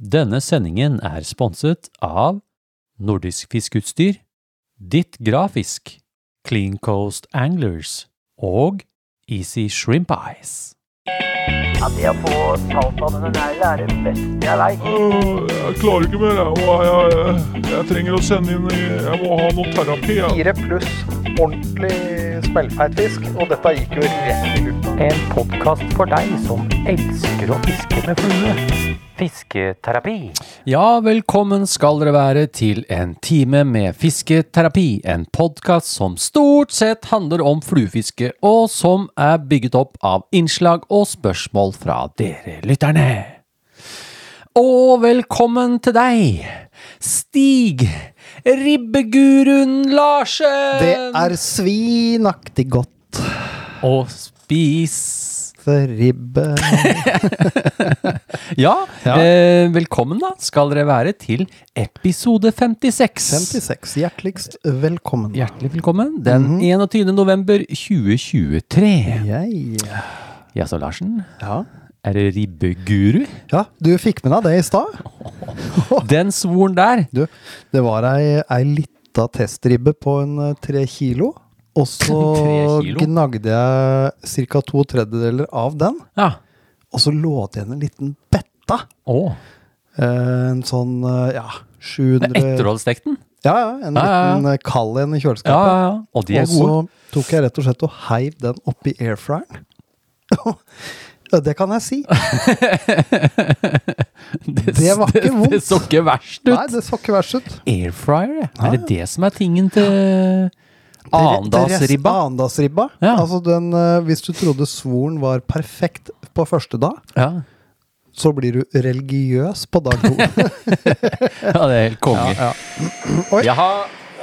Denne sendingen er sponset av Nordisk Fiskeutstyr, Ditt Grafisk, Clean Coast Anglers og Easy Shrimp Eyes. Ja, det å få talt av denne neglen er det beste jeg veit. Øh, Jeg klarer ikke mer. Jeg, Og jeg, jeg, jeg trenger å sende inn i- Jeg må ha noe terapi. Jeg. Fire pluss ordentlig smellfeit fisk, og dette gikk jo rett i lufta. En podkast for deg som elsker å fiske med flue. Fisketerapi. Ja, velkommen skal dere være til en time med fisketerapi, en podkast som stort sett handler om fluefiske, og som er bygget opp av innslag og spørsmål fra dere lytterne. Og velkommen til deg, Stig Ribbeguruen Larsen! Det er svinaktig godt Og spis for ribbe. Ja, Ja. Eh, velkommen da skal dere være til episode 56. 56. Hjerteligst velkommen. Hjertelig velkommen den Mhm. 21. november 2023. Jeg. Jaså, Larsen. Ja. Er det ribbeguru? ja, du fikk med deg det i stad. Den svoren der. Du, det var ei, ei lita testribbe på en eh, tre kilo. Og så Tre kilo? gnagde jeg ca. to tredjedeler av den. Ja. Og så lå det igjen en liten betta. Å. Eh, En sånn, eh, ja, Men 700 etter å ha stekt den? Ja, ja, en Ja, ja, ja. liten eh, kald en i kjøleskapet. Ja, ja, ja. Og de er og så gode. tok jeg rett og slett og heiv den oppi airfryeren. Ja, det kan jeg si. Det, det var ikke vondt. Det så ikke verst ut. Nei, det så ikke verst ut. Airfryer, ja. Er det Ja. det som er tingen til Arendalsribba. Arendalsribba? Arendalsribba. Ja. Altså den, eh, hvis du trodde svoren var perfekt på første dag, Ja. så blir du religiøs på dag to. ja, det er helt konge. Oi. Jaha,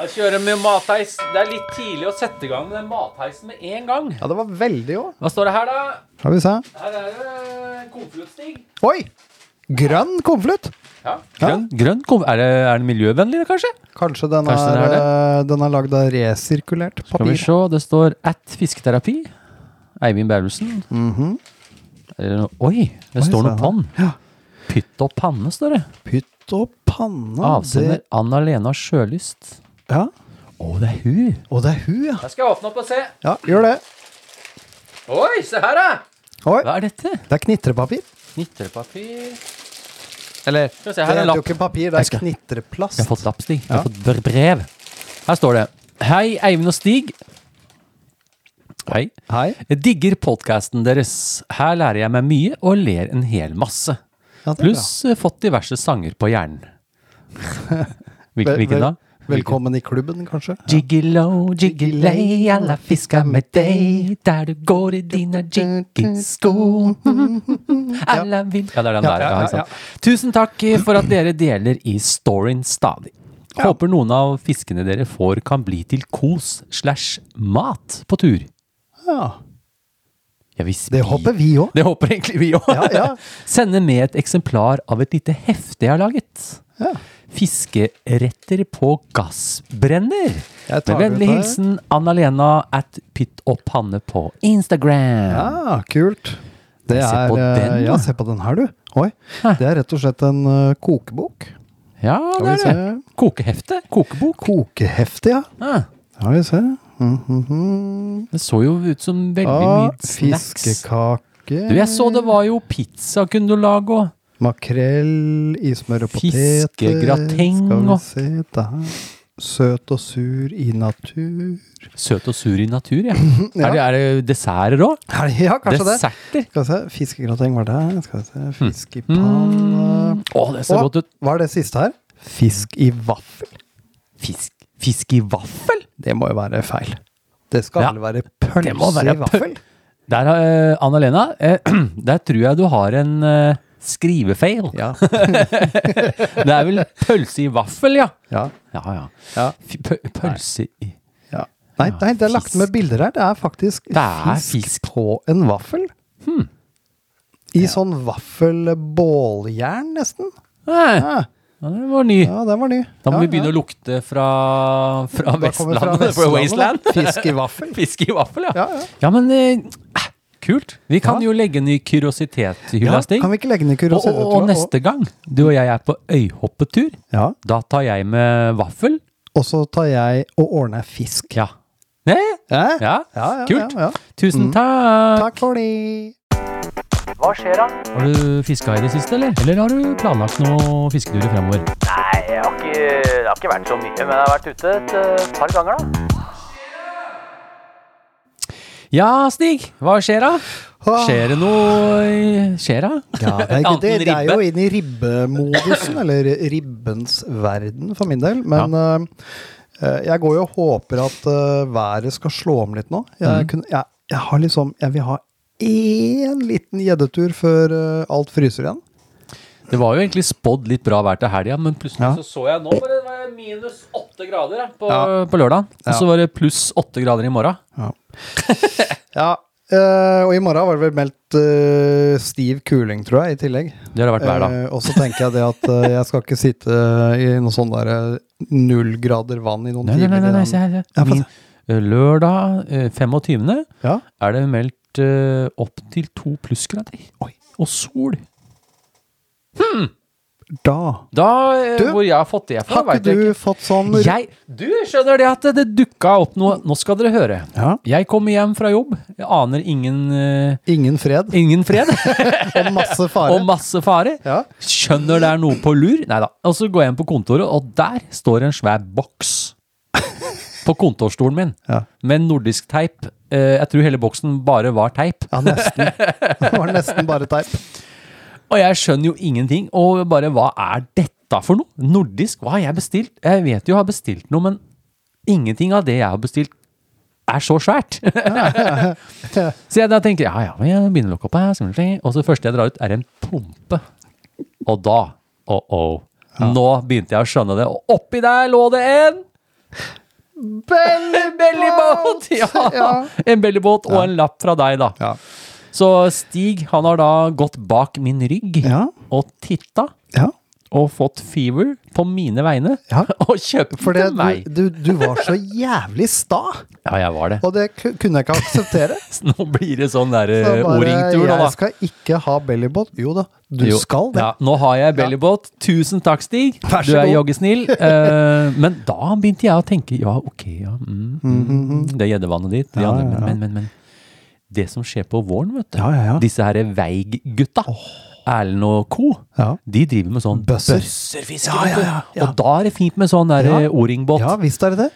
jeg kjører med matheis. Det er litt tidlig å sette i gang med den matheisen med en gang. ja, det var veldig òg. Hva står det her, da? Skal vi se. Her er det eh, konfluttstig. Oi! Grønn konvolutt. Ja. Grønn, grønn konf... Er det, er det miljøvennlig, kanskje? Kanskje den Kanskje er, det eh, den er lagd av resirkulert Skal vi papir. se, det står at fisketerapi. Eivind Berlesen. Er det noe- Mhm. Oi, det står noe se pann. Ja. Pytt og panne, står det. Pytt og panne. Avsender det- Anna-Lena Sjølyst. Ja. Å, det er hun! Og det er hun, ja. Jeg skal åpne opp og se. Ja, gjør det. Oi, se her, da! Oi. Hva er dette? Det er knitrepapir. Knitrepapir Eller Skal vi se, her er en det heter jo lapp. ikke papir, det Jeg er skal- knitreplast. Jeg har fått lapp, Stig. Jeg Ja. har fått br- brev. Her står det. Hei, Eivind og Stig. Hei. Hei. Jeg digger podkasten deres. Her lærer jeg meg mye og ler en hel masse. Ja, det er Pluss eh, fått diverse sanger på hjernen. bra. Hvilken, Vel- hvilken da? vel- Velkommen i klubben, kanskje? Jiggelo, jiggilei, alla fiskar med deg, der du går i dina jiggisko. Alla vil Ja, det er den Ja, der. Ja, ja, ikke sant? Tusen takk eh, for at dere deler i storyen stadig. Håper noen av fiskene dere får kan bli til kos slash mat på tur. Ja. Ja, hvis Det vi- håper vi òg. Det håper egentlig vi òg. Ja, ja. Sende med et eksemplar av et lite hefte jeg har laget. Ja. Fiskeretter på gassbrenner. Jeg Med tar ut vennlig det. hilsen Anna-Lena at pytt og panne på Instagram. Ja, kult. Det Se er, på eh, den, da. ja, se på den her, du. Oi. Det er rett og slett en eh, kokebok. Ja, det Skal vi er det. se. Kokehefte. Kokebok. Kokehefte, ja. Ja. Skal vi se. Mhm. Det så jo ut som veldig Ah, mye snacks. fiskekake. Du, jeg så det var jo pizza kunne du lage òg. Makrell i smør og poteter. Fiskegrateng Skal og- vi se der. Søt og sur i natur. Søt og sur i natur, ja. Ja. Er, det, er det desserter òg? Er det- Ja, kanskje det. Desserter. Skal vi se, Fiskegrateng var der. Skal vi se, Fisk i panne. Å, Hmm. det ser Og godt ut. hva er det siste her? Fisk i vaffel. Fisk, fisk i vaffel? Det må jo være feil. Det skal Ja, vel være det må pølse være i vaffel? Der, eh, Anna-Lena, eh, der tror jeg du har en eh, skrivefeil. Ja. Det er vel pølse i vaffel, ja. ja. Ja, ja. Ja. Fy- pø- Pølse i ja. Nei, nei, det er lagt med bilder her. Det er faktisk Det er fisk. Hmm. fisk på en vaffel. I sånn vaffelbåljern, nesten. Nei, Ja, ja, den var ny. ja den var ny. Da må ja, vi begynne å lukte fra, fra Da kommer vi Vestlandet. Fra Vestlandet, da. Wasteland. Fisk i vaffel. Fisk i vaffel, ja. Ja, ja. Ja, men eh, eh, kult. Vi kan Ja. jo legge ny Ja, kuriositetshjulasting. kan vi ikke legge ned og, og, kuriositet? og neste gang du og jeg er på øyhoppetur, Ja. da tar jeg med vaffel. Og så tar jeg og ordner fisk. Ja. Nei, Ja, ja. ja, ja, Kult. ja, ja. Tusen takk. Takk for det. Hva skjer da? Har du fiska i det siste, eller? Eller har du planlagt noen fisketurer fremover? Nei, jeg har ikke, det har ikke vært så mye, men jeg har vært ute et eh, par ganger da. Ja, Stig. Hva skjer da? Skjer det noe i- Skjer da? Ja, det, er, ikke- Anten det, det er jo ribbe. inn i ribbemodusen, eller ribbens verden, for min del. Men eh, eh, jeg går jo og håper at eh, været skal slå om litt nå. Jeg, Mhm. kunne, jeg, jeg har liksom Jeg vil ha én liten gjeddetur før eh, alt fryser igjen. Det var jo egentlig spådd litt bra vær til helga, men plutselig Ja. så så jeg nå bare det var minus åtte grader ja, på, Ja. på lørdag. Ja. Og så var det pluss åtte grader i morgen. Ja, eh, og i morgen var det vel meldt eh, stiv kuling, tror jeg, i tillegg. Det har det vært hver dag. Eh, og så tenker jeg det at eh, jeg skal ikke sitte i noe sånn der eh, null grader vann i noen Nei, nei, nei, timer. nei, i nei den- se her. se. Ja, få Min, eh, lørdag eh, 25. Ja. er det meldt eh, opp til to plussgrader. Oi. Og sol. Da Da, eh, Du, hvor jeg har fått det fra, Har vet ikke jeg du fått sånn ikke. Jeg, du skjønner det at det dukka opp noe. Nå skal dere høre. ja. Jeg kommer hjem fra jobb. Jeg aner ingen, eh, Ingen fred ingen fred og masse fare? og masse fare. ja. Skjønner det er noe på lur. Neida. Og så går jeg inn på kontoret, og der står en svær boks på kontorstolen min Ja. med nordisk teip. Eh, Jeg tror hele boksen bare var teip. ja, nesten. Det var nesten bare teip. Og jeg skjønner jo ingenting. Og bare hva er dette for noe? Nordisk? Hva har jeg bestilt? Jeg vet jo jeg har bestilt noe, men ingenting av det jeg har bestilt, er så svært. så jeg da tenker ja, ja, men jeg begynner å lukke opp her. skal vi se. Og så det første jeg drar ut, er en pumpe. Og da oh-oh. Nå begynte jeg å skjønne det. Og oppi der lå det en Bellybåt! Ja, En bellybåt og en lapp fra deg, da. Ja. Så Stig han har da gått bak min rygg Ja. og titta Ja. og fått fever på mine vegne Ja. og kjøpt For det, til meg. du, du, du var så jævlig sta, Ja, jeg var det. og det ku- kunne jeg ikke akseptere. Nå blir det sånn der Så eh, bare, O-ring-tur, da. Jeg da. skal ikke ha bellybot. Jo da, du Jo. skal det. Ja, nå har jeg bellybåt. Tusen takk, Stig. Vær så du er god. joggesnill. Eh, men da begynte jeg å tenke ja, ok, ja. Mm, mm, mm, det er gjeddevannet ditt. De Mhm, Ja, andre, ja, men, ja. men, men, men. Det som skjer på våren, vet du. Ja, ja, ja. Disse her Veig-gutta. Erlend og co. Ja. De driver med sånn Bøsser. bøsserfiske. Ja, vet du. ja, ja, ja. Og da er det fint med sånn der, Ja. eh, O-ringbåt. ja visst er det det.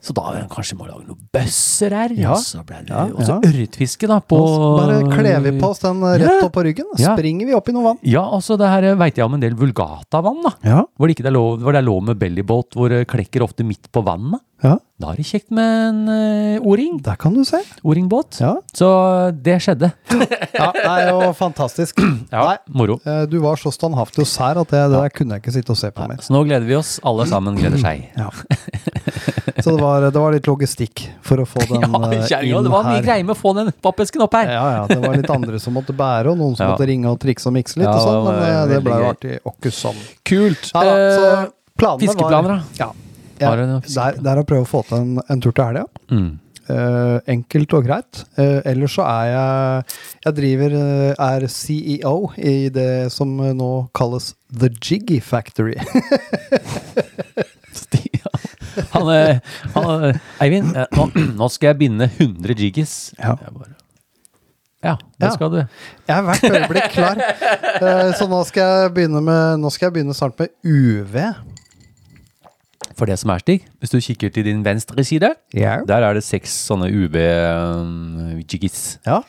Så da har han kanskje må lage noen bøsser her. Ja. Og så ble det Ja, og så ja. ørretfiske, da. På Nå s- Bare kler vi på oss den eh, rett Ja. opp på ryggen, Ja. springer vi opp i noe vann. Ja, altså det her veit jeg om en del vulgatavann, da. Ja, Hvor det, ikke er lov, hvor det er lov med bellybåt, hvor det klekker ofte midt på vannet. ja. Da er det kjekt med en eh, o-ring. Der kan du se. O-ringbåt. Ja. Så eh, det skjedde. Ja, det er jo fantastisk. Ja, Nei, Moro. eh, du var så standhaftig og sær at det, det der kunne jeg ikke sitte og se på mer. Så nå gleder vi oss. Alle sammen gleder seg. Ja. Så det var, det var litt logistikk for å få den Ja, eh, kjerringa, inn det var mye her. greier med å få den pappesken opp her. Ja, ja, det var litt andre som måtte bære, og noen som Ja. måtte ringe og trikse og mikse litt, Ja, og sånn, det men var eh, det veldig ble jo gøy. artig åkke sånn. Kult. Ja, da, så Eh, planene fiskeplaner, da? var Ja. Var det noen det, er, det er å prøve å få til en, en tur til helga. mm. Eh, enkelt og greit. Eh, ellers så er jeg Jeg driver, eh, er CEO i det som eh, nå kalles The Jiggy Factory. Sti- Han, eh, han, eh, Eivind, eh, nå, nå skal jeg binde 100 jiggis. Ja. Jeg bare, ja, det Ja. skal du. Jeg er hvert øyeblikk klar. Eh, Så nå skal jeg begynne med Nå skal jeg begynne snart med UV. For det som er, Stig, hvis du kikker til din venstre side, der er det seks sånne UV-jiggis. Ja.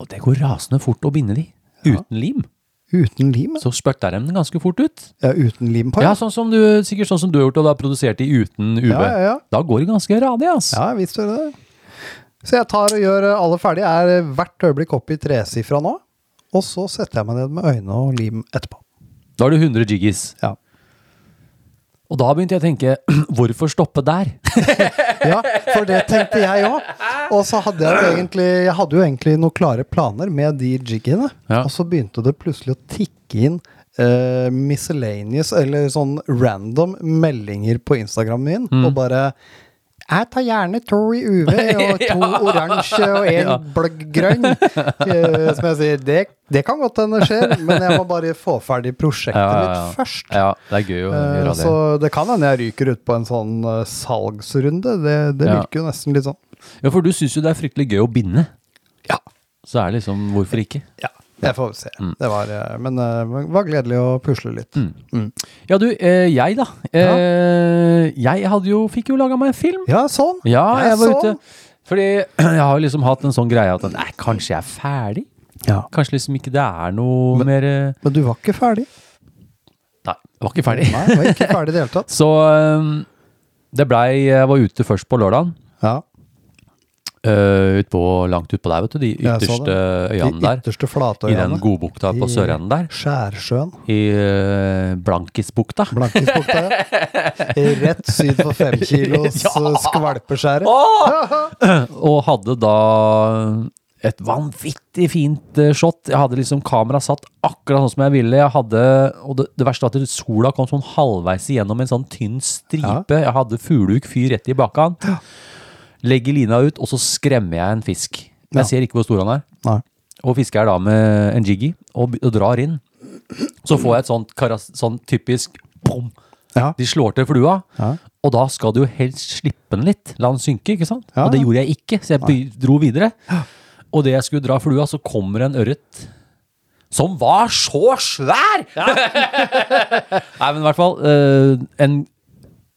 Og det går rasende fort å binde de. Uten lim. Uten lim. altså. Så spytter de dem ganske fort ut. Ja, uten lim på. Ja, sånn som du, Sikkert sånn som du har gjort, og da produsert de uten UV. Ja, ja, ja. Da går det ganske radig, ass. Ja, visst gjør det det. Så jeg tar og gjør eh, alle ferdige. Jeg er hvert øyeblikk oppe i tresifra nå. Og så setter jeg meg ned med øyne og lim etterpå. Da har du 100 jiggis. Ja. Og da begynte jeg å tenke, hvorfor stoppe der? Ja, for det tenkte jeg òg. Og så hadde jeg, jo egentlig, jeg hadde jo egentlig noen klare planer med de jiggiene. Ja. Og så begynte det plutselig å tikke inn eh, Mm. miscellaneous, eller sånn random meldinger på Instagramen min. Og bare Jeg tar gjerne to i UV og to oransje og en bløgg grønn. Eh, Som jeg sier, det, det kan godt hende skjer, men jeg må bare få ferdig prosjektet Ja, ja, ja. mitt først. Ja, det er gøy å Eh, gjøre det. Så det kan hende jeg ryker ut på en sånn eh, salgsrunde. Det, det Ja. virker jo nesten litt sånn. Ja, for du syns jo det er fryktelig gøy å binde. Ja. Så er det liksom Hvorfor ikke? Ja, jeg får se. Mm. Det var, eh, men eh, det var gledelig å pusle litt. Ja, du, eh, jeg, da. Eh, jeg hadde jo Fikk jo laga meg en film. Ja, sånn. Ja, Det er jeg var ute. sånn. Fordi jeg har liksom hatt en sånn greie at nei, kanskje jeg er ferdig? Ja. Kanskje liksom ikke det er noe Men- mer eh, Men du var ikke ferdig. Nei, jeg var ikke ferdig. Nei, du var ikke ferdig i det hele tatt. Så eh, det blei Jeg var ute først på lørdagen. Ja, eh, ut på, langt utpå der, vet du. De Jeg så det. ytterste De øyene der. ytterste I den flatøyene. godbukta på I- sørenden der. Skjærsjøen. I eh, Blankisbukta. Blankisbukta. ja. Rett syd for femkilos eh, skvalpeskjæret. Og hadde da et vanvittig fint eh, shot. Jeg hadde liksom kameraet satt akkurat sånn som jeg ville. Jeg hadde, og det, det verste var at sola kom sånn halvveis igjennom en sånn tynn stripe. Jeg hadde fuglehuk fyr rett i bakhånd. Legger lina ut, og så skremmer jeg en fisk. Men Ja. jeg ser ikke hvor stor han er. Nei. Og fisker jeg da med en jiggy og, be- og drar inn. Så får jeg et sånt, karas, sånn typisk bom. Ja. De slår til flua, Ja. og da skal du jo helst slippe den litt. La den synke, ikke sant? Ja, Og det ja. gjorde jeg ikke, så jeg by- dro videre. Og det jeg skulle dra flua, så kommer en ørret. Som var så svær! Nei, men i hvert fall eh, en,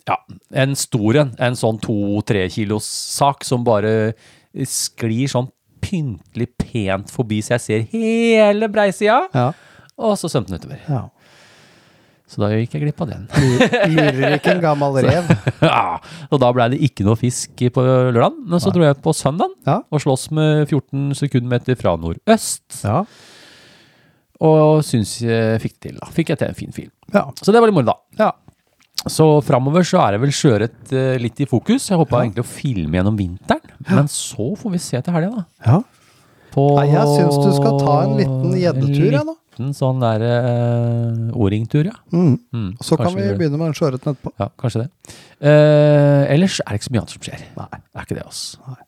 ja, en stor en. En sånn to-tre kilos sak som bare sklir sånn pyntelig pent forbi, så jeg ser hele breisida. Ja. Og så svømte den utover. ja. Så da gikk jeg glipp av den. Lurer ikke en gammel rev. Ja, og da ble det ikke noe fisk på lørdagen, men så dro jeg på søndagen Ja. og slåss med 14 sekundmeter fra nordøst, Ja. og syns jeg fikk det til da. Fikk jeg til en fin film. Ja. Så det var litt moro da. ja. Så framover så er det vel sjøørret eh, litt i fokus. Jeg håpa egentlig å filme gjennom vinteren, men så får vi se til helga, da. ja. På- Nei, jeg syns du skal ta en liten gjeddetur, jeg, da. En liten sånn der uh, O-ringtur, ja. Mm. Mm, Og Så kan kanskje vi begynne med den sjøørreten etterpå. Ja, kanskje det. Eh, ellers er det ikke så mye annet som skjer. Nei. Det er ikke det, altså.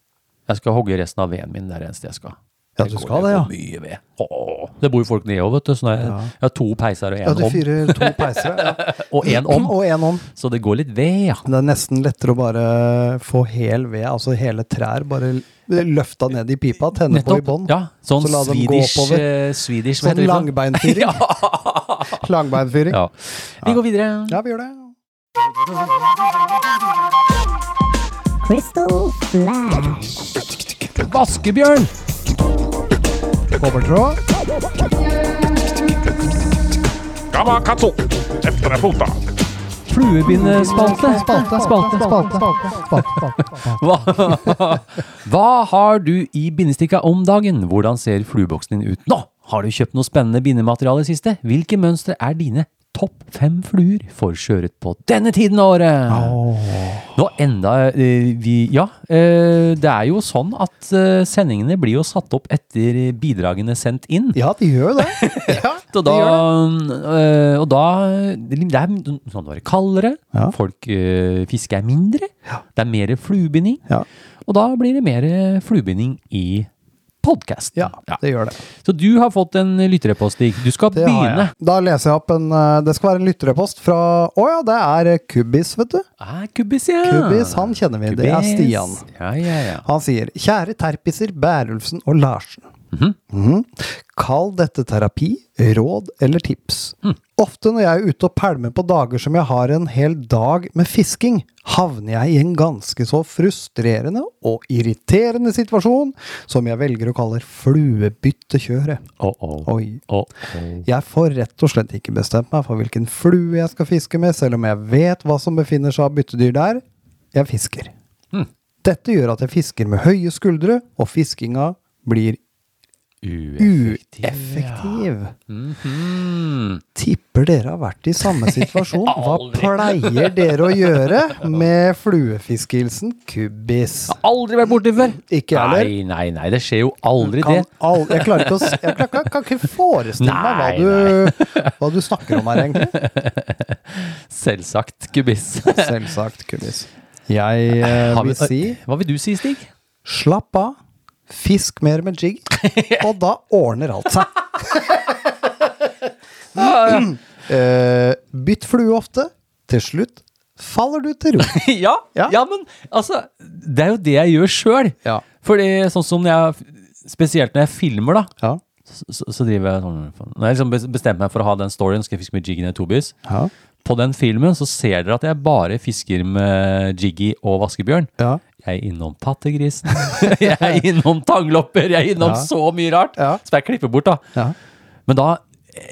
Jeg skal hogge resten av veden min. Det er det eneste jeg skal. Ja, du går- skal det, ja. går mye ved. Åh, det bor jo folk nede òg, vet du. Så nå er jeg, jeg har to peiser og Ja, én du om. fyrer to peisere. Ja. Og én om. Og en om. Så det går litt ved, ja. Det er nesten lettere å bare få hel ved, altså hele trær, bare l- løfta ned i pipa, tenne på i bånn. Ja, sånn Så la dem gå swedish, oppover. eh, swedish hva Sånn heter det for noe? langbeinfyring. Langbeinfyring. Ja. Vi går videre. ja, vi gjør det. Crystal Flash. Vaskebjørn! Kobbertråd. Gamma katso! Efter deg fota. Fluebindespalte. Spalte, spalte, spalte. spalte, spalte. Hva, hva har du i bindestikka om dagen? Hvordan ser flueboksen din ut nå? Har du kjøpt noe spennende bindemateriale i siste? Hvilke mønstre er dine topp fem fluer for sjøørret på denne tiden av året? Nå enda eh, vi Ja, eh, det er jo sånn at eh, sendingene blir jo satt opp etter bidragene sendt inn. Ja, de gjør jo det. Ja, Og de da, gjør det. øh, og da Det er sånn det er kaldere, Ja. folk øh, fisker er mindre, det er mer fluebinding. Ja. Og da blir det mer fluebinding i podkast. Ja, det gjør det. Så du har fått en lytterepost, Stig. Du skal Det har jeg. begynne. Da leser jeg opp en eh, Det skal være en lytterepost fra Å ja, det er Kubbis, vet du. Ah, Kubbis, ja. Kubbis, han kjenner vi. Det er Kubbis. Stian. Ja, ja, ja. Han sier Kjære terpiser Bærulfsen og Larsen. Mhm. Kall dette terapi, råd eller tips. Ofte når jeg er ute og pælmer på dager som jeg har en hel dag med fisking, havner jeg i en ganske så frustrerende og irriterende situasjon som jeg velger å kalle fluebyttekjøret. Å, å. Oi. Å, å. Jeg får rett og slett ikke bestemt meg for hvilken flue jeg skal fiske med, selv om jeg vet hva som befinner seg av byttedyr der. Jeg fisker. Hm. Dette gjør at jeg fisker med høye skuldre, og fiskinga blir Ueffektiv. ueffektiv. Hm. Mhm. Tipper dere har vært i samme situasjon. Hva pleier dere å gjøre med fluefiskehilsen Kubbis? Aldri vært borti før! Ikke jeg heller. Nei, nei, nei, det skjer jo aldri Kan, det. al- jeg klarer ikke å s- jeg kan, kan ikke forestille meg hva Nei, du, hva du snakker om her, egentlig. Selvsagt, Kubbis. Selvsagt, Kulis. Jeg eh, Har vi- vil si Hva vil du si, Stig? slapp av, fisk mer med jig, og da ordner alt seg. Eh, bytt flue ofte. Til slutt faller du til ro. ja, ja. Ja. men altså Det er jo det jeg gjør sjøl. Ja. Fordi sånn som når jeg Spesielt når jeg filmer, da. Ja. Så, så- så driver jeg sånn Når jeg liksom bes- bestemmer meg for å ha den storyen, skal jeg fiske med Jiggy ned i Tobis. Ja. På den filmen så ser dere at jeg bare fisker med Jiggy og vaskebjørn. Ja. Jeg er innom pattegrisen, jeg er innom tanglopper, jeg er innom Ja. så mye rart. Ja. Som jeg klipper bort, da. Ja. Men da,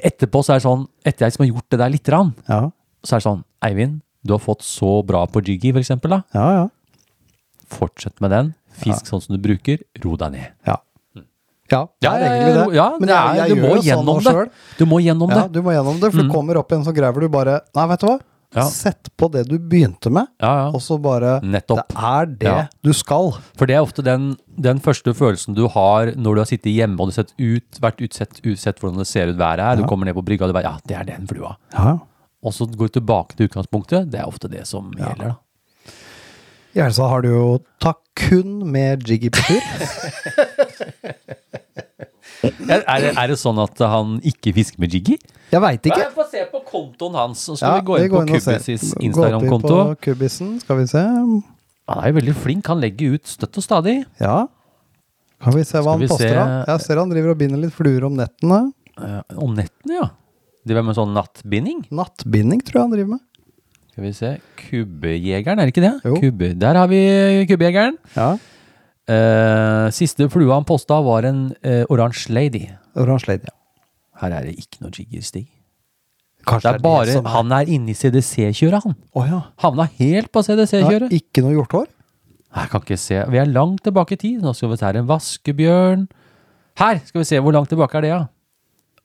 etterpå, så er det sånn Etter jeg liksom har gjort det der lite grann, Ja. så er det sånn Eivind, du har fått så bra på Jiggy, for eksempel, da. Ja. ja. Fortsett med den. Fisk sånn som du bruker. Ro deg ned. Ja. Ja, det er ja, ja, egentlig det. ja, det jeg- er- jeg du gjør må jo sånn gjennom nå det. selv. Du må gjennom Ja, det. Mm. du må gjennom det, for du kommer opp i en sånn greie hvor du bare Nei, vet du hva? Ja. Sett på det du begynte med, Ja, ja. og så bare Nettopp. Det er det Ja. du skal. For det er ofte den, den første følelsen du har når du har sittet hjemme og du har sett ut, vært utsett, utsett hvordan det ser ut været her. Du kommer ned på brygga og du bare Ja, det er den flua. Ja. Og så går du tilbake til utgangspunktet. Det er ofte det som gjelder, da. I Elsa har du jo ta kun med Jiggy på tur. Er, er, det- er det sånn at han ikke fisker med Jiggy? Jeg veit ikke. Få se på kontoen hans, så skal Ja, vi gå inn på og ser. Kubis' Gå opp inn Instagram-konto. på Kubisen, skal vi se. Han er jo veldig flink. Han legger ut støtt og stadig. Ja. Kan vi se hva vi han poster se- da? Jeg ser han driver og binder litt fluer om nettene. Eh, om nettene, ja. Driver med sånn nattbinding. Nattbinding tror jeg han driver med. Skal vi se. Kubbejegeren, er det ikke det? Jo. Kubbe. Der har vi kubbejegeren. Ja. Eh, siste flua han posta, var en eh, oransje lady. Oransje lady. ja. Her er det ikke noe jiggerstig. Kanskje Det er bare, som er- han er inne i CDC-kjøret, han. Å ja. Havna helt på ja. CDC-kjøret. Ikke noe hjorthår? Jeg kan ikke se. Vi er langt tilbake i tid. Nå skal vi se her. En vaskebjørn. Her skal vi se. Hvor langt tilbake er det, ja?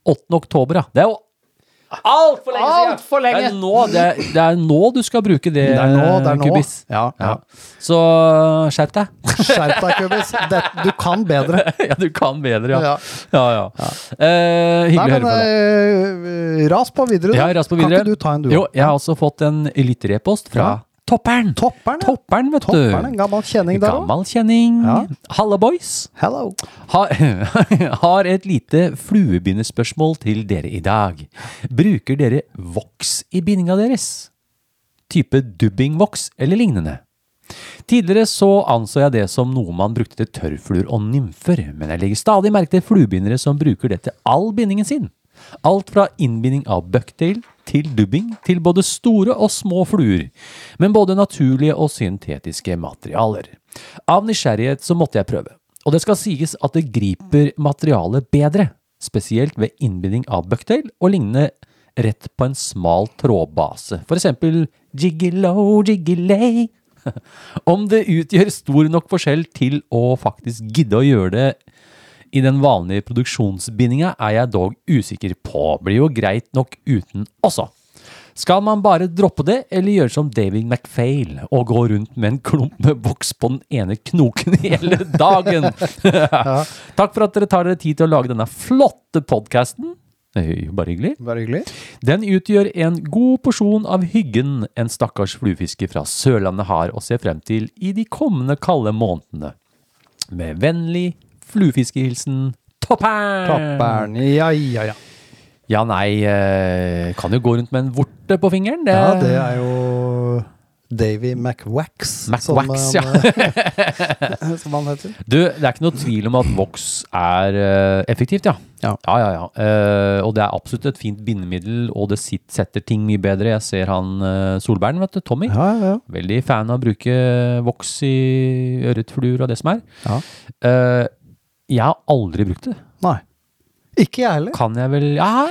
8. oktober, ja. Det er jo altfor lenge siden! Alt for lenge! Det er, nå, det, er, det er nå du skal bruke det, Det er nå, det er nå. Eh, Kubis. Ja, ja. Så skjerp deg. Skjerp deg, Kubis. Det, du kan bedre. ja, du kan bedre, ja. Ja. ja, ja. Eh, Nei, hyggelig å høre men på deg. eh, ras på videre. du. Ja, raskt på videre. Kan ikke du ta en, du? Jo, jeg har også fått en lytterepost fra Ja. Toppern. Topperen, ja. Toppern, vet du. Topperen, en gammel kjenning der òg. Gammel kjenning. Ja. Halla, boys. Hello. Har, har et lite fluebindespørsmål til dere i dag. Bruker dere voks i bindinga deres? Type dubbingvoks eller lignende? Tidligere så anså jeg det som noe man brukte til tørrfluer og nymfer, men jeg legger stadig merke til fluebindere som bruker det til all bindingen sin. Alt fra innbinding av bucktail til dubbing til både store og små fluer, men både naturlige og syntetiske materialer. Av nysgjerrighet så måtte jeg prøve, og det skal sies at det griper materialet bedre, spesielt ved innbinding av bucktail og lignende rett på en smal trådbase, for eksempel jiggy-low, jiggy-lay. Om det utgjør stor nok forskjell til å faktisk gidde å gjøre det i den vanlige produksjonsbindinga, er jeg dog usikker på. Blir jo greit nok uten også. Skal man bare droppe det, eller gjøre som David McFail og gå rundt med en klump med voks på den ene knoken hele dagen? Takk for at dere tar dere tid til å lage denne flotte podkasten. Bare hyggelig. Bare hyggelig. Den utgjør en god porsjon av hyggen en stakkars fluefisker fra Sørlandet har å se frem til i de kommende kalde månedene. Med vennlig fluefiskehilsen Toppern! Topperen. Ja, ja, ja. Ja, nei, eh, kan jo gå rundt med en vorte på fingeren. Det, Ja, det er jo Davy McWax. McWax, ja. ja. eh, som han heter. Du, det er ikke noe tvil om at voks er eh, effektivt, ja. Ja. ja, ja. ja. Eh, og det er absolutt et fint bindemiddel, og det sit, setter ting mye bedre. Jeg ser han uh, Solbæren, vet du, Tommy. Ja, ja, ja. Veldig fan av å bruke voks i ørretfluer og det som er. Ja. Eh, jeg har aldri brukt det. Nei. Ikke jeg heller. Kan jeg vel ja,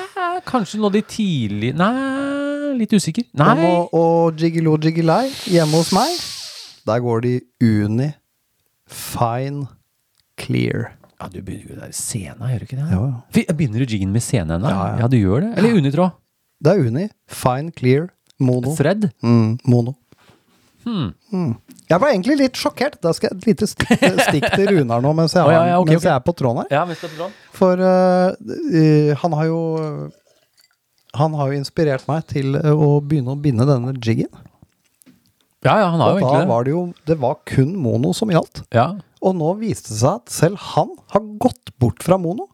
Kanskje nå de tidlig Nei, litt usikker. Nei. Om å- Og Jiggelo Jiggilei hjemme hos meg, der går de uni, fine, clear. Ja, du begynner jo der sena, gjør du ikke det? Jo, jo. Fy- Begynner du jiggen med sena ennå? Ja, Ja, ja. du gjør det. Eller unitråd. Det er uni, fine, clear, mono. Thread. Mm, mono. Hmm. Mm. Jeg ble egentlig litt sjokkert. Da skal jeg et lite stikk, stikk til Runar nå mens jeg, Å, har, ja, ja, ok, mens ok. jeg er på tråden her. Ja, visst er det sånn. For eh, eh, han har jo Han har jo inspirert meg til eh, å begynne å binde denne jiggen. Ja, ja, han har jo Og da egentlig det. var det jo Det var kun mono som gjaldt. Ja. Og nå viste det seg at selv han har gått bort fra mono.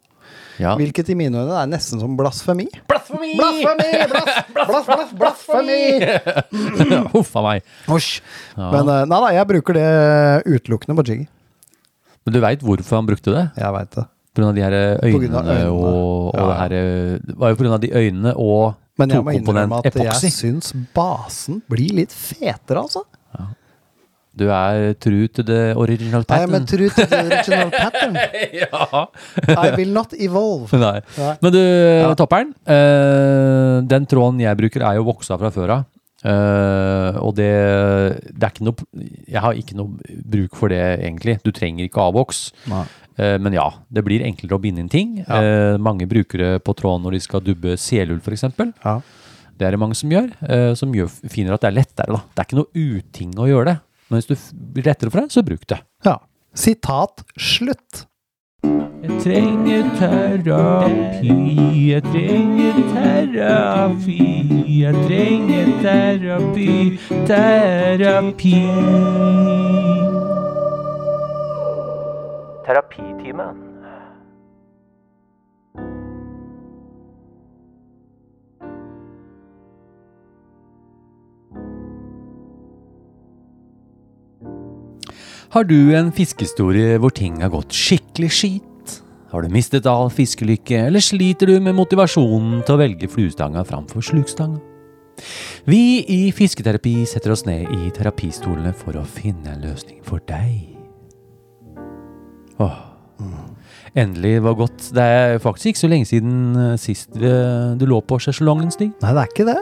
ja. Hvilket i mine øyne er nesten som blasfemi. Blasfemi! Blasfemi! Blasfemi! Huff a meg. Hosj. Men eh, nei da, jeg bruker det utelukkende på Jiggy. Men du veit hvorfor han brukte det? Jeg veit det. På grunn av de her På grunn øynene, av øynene. og, og Ja. det her eh, Det var jo på grunn av de øynene og Men jeg må innrømme tokomponent at epoksy. jeg syns basen blir litt fetere, altså. Du er true to the original I am a pattern. true to the original pattern. ja. I will not evolve. Nei. Nei. Men du, Topperen. eh, den tråden jeg bruker, er jo voksa fra før av. Eh, og det, det er ikke noe Jeg har ikke noe bruk for det, egentlig. Du trenger ikke avvoks. Nei. Eh, men ja, det blir enklere å binde inn ting. Eh, mange brukere på tråden når de skal dubbe selull, f.eks. Ja. Det er det mange som gjør, eh, som gjør, finner at det er lettere. da. Det er ikke noe uting å gjøre det. Men hvis du f- blir lettere for deg, så bruk det. ja. Sitat slutt. Jeg trenger terapi, jeg trenger terapi, jeg trenger terapi, terapi. Terapitimen. Har du en fiskehistorie hvor ting har gått skikkelig skit? Har du mistet all fiskelykke, eller sliter du med motivasjonen til å velge fluestanga framfor slukstanga? Vi i Fisketerapi setter oss ned i terapistolene for å finne en løsning for deg. Åh. Endelig var godt. Det er faktisk ikke så lenge siden eh, sist eh, du lå på sjeselongen, Stig. Nei, det er ikke det.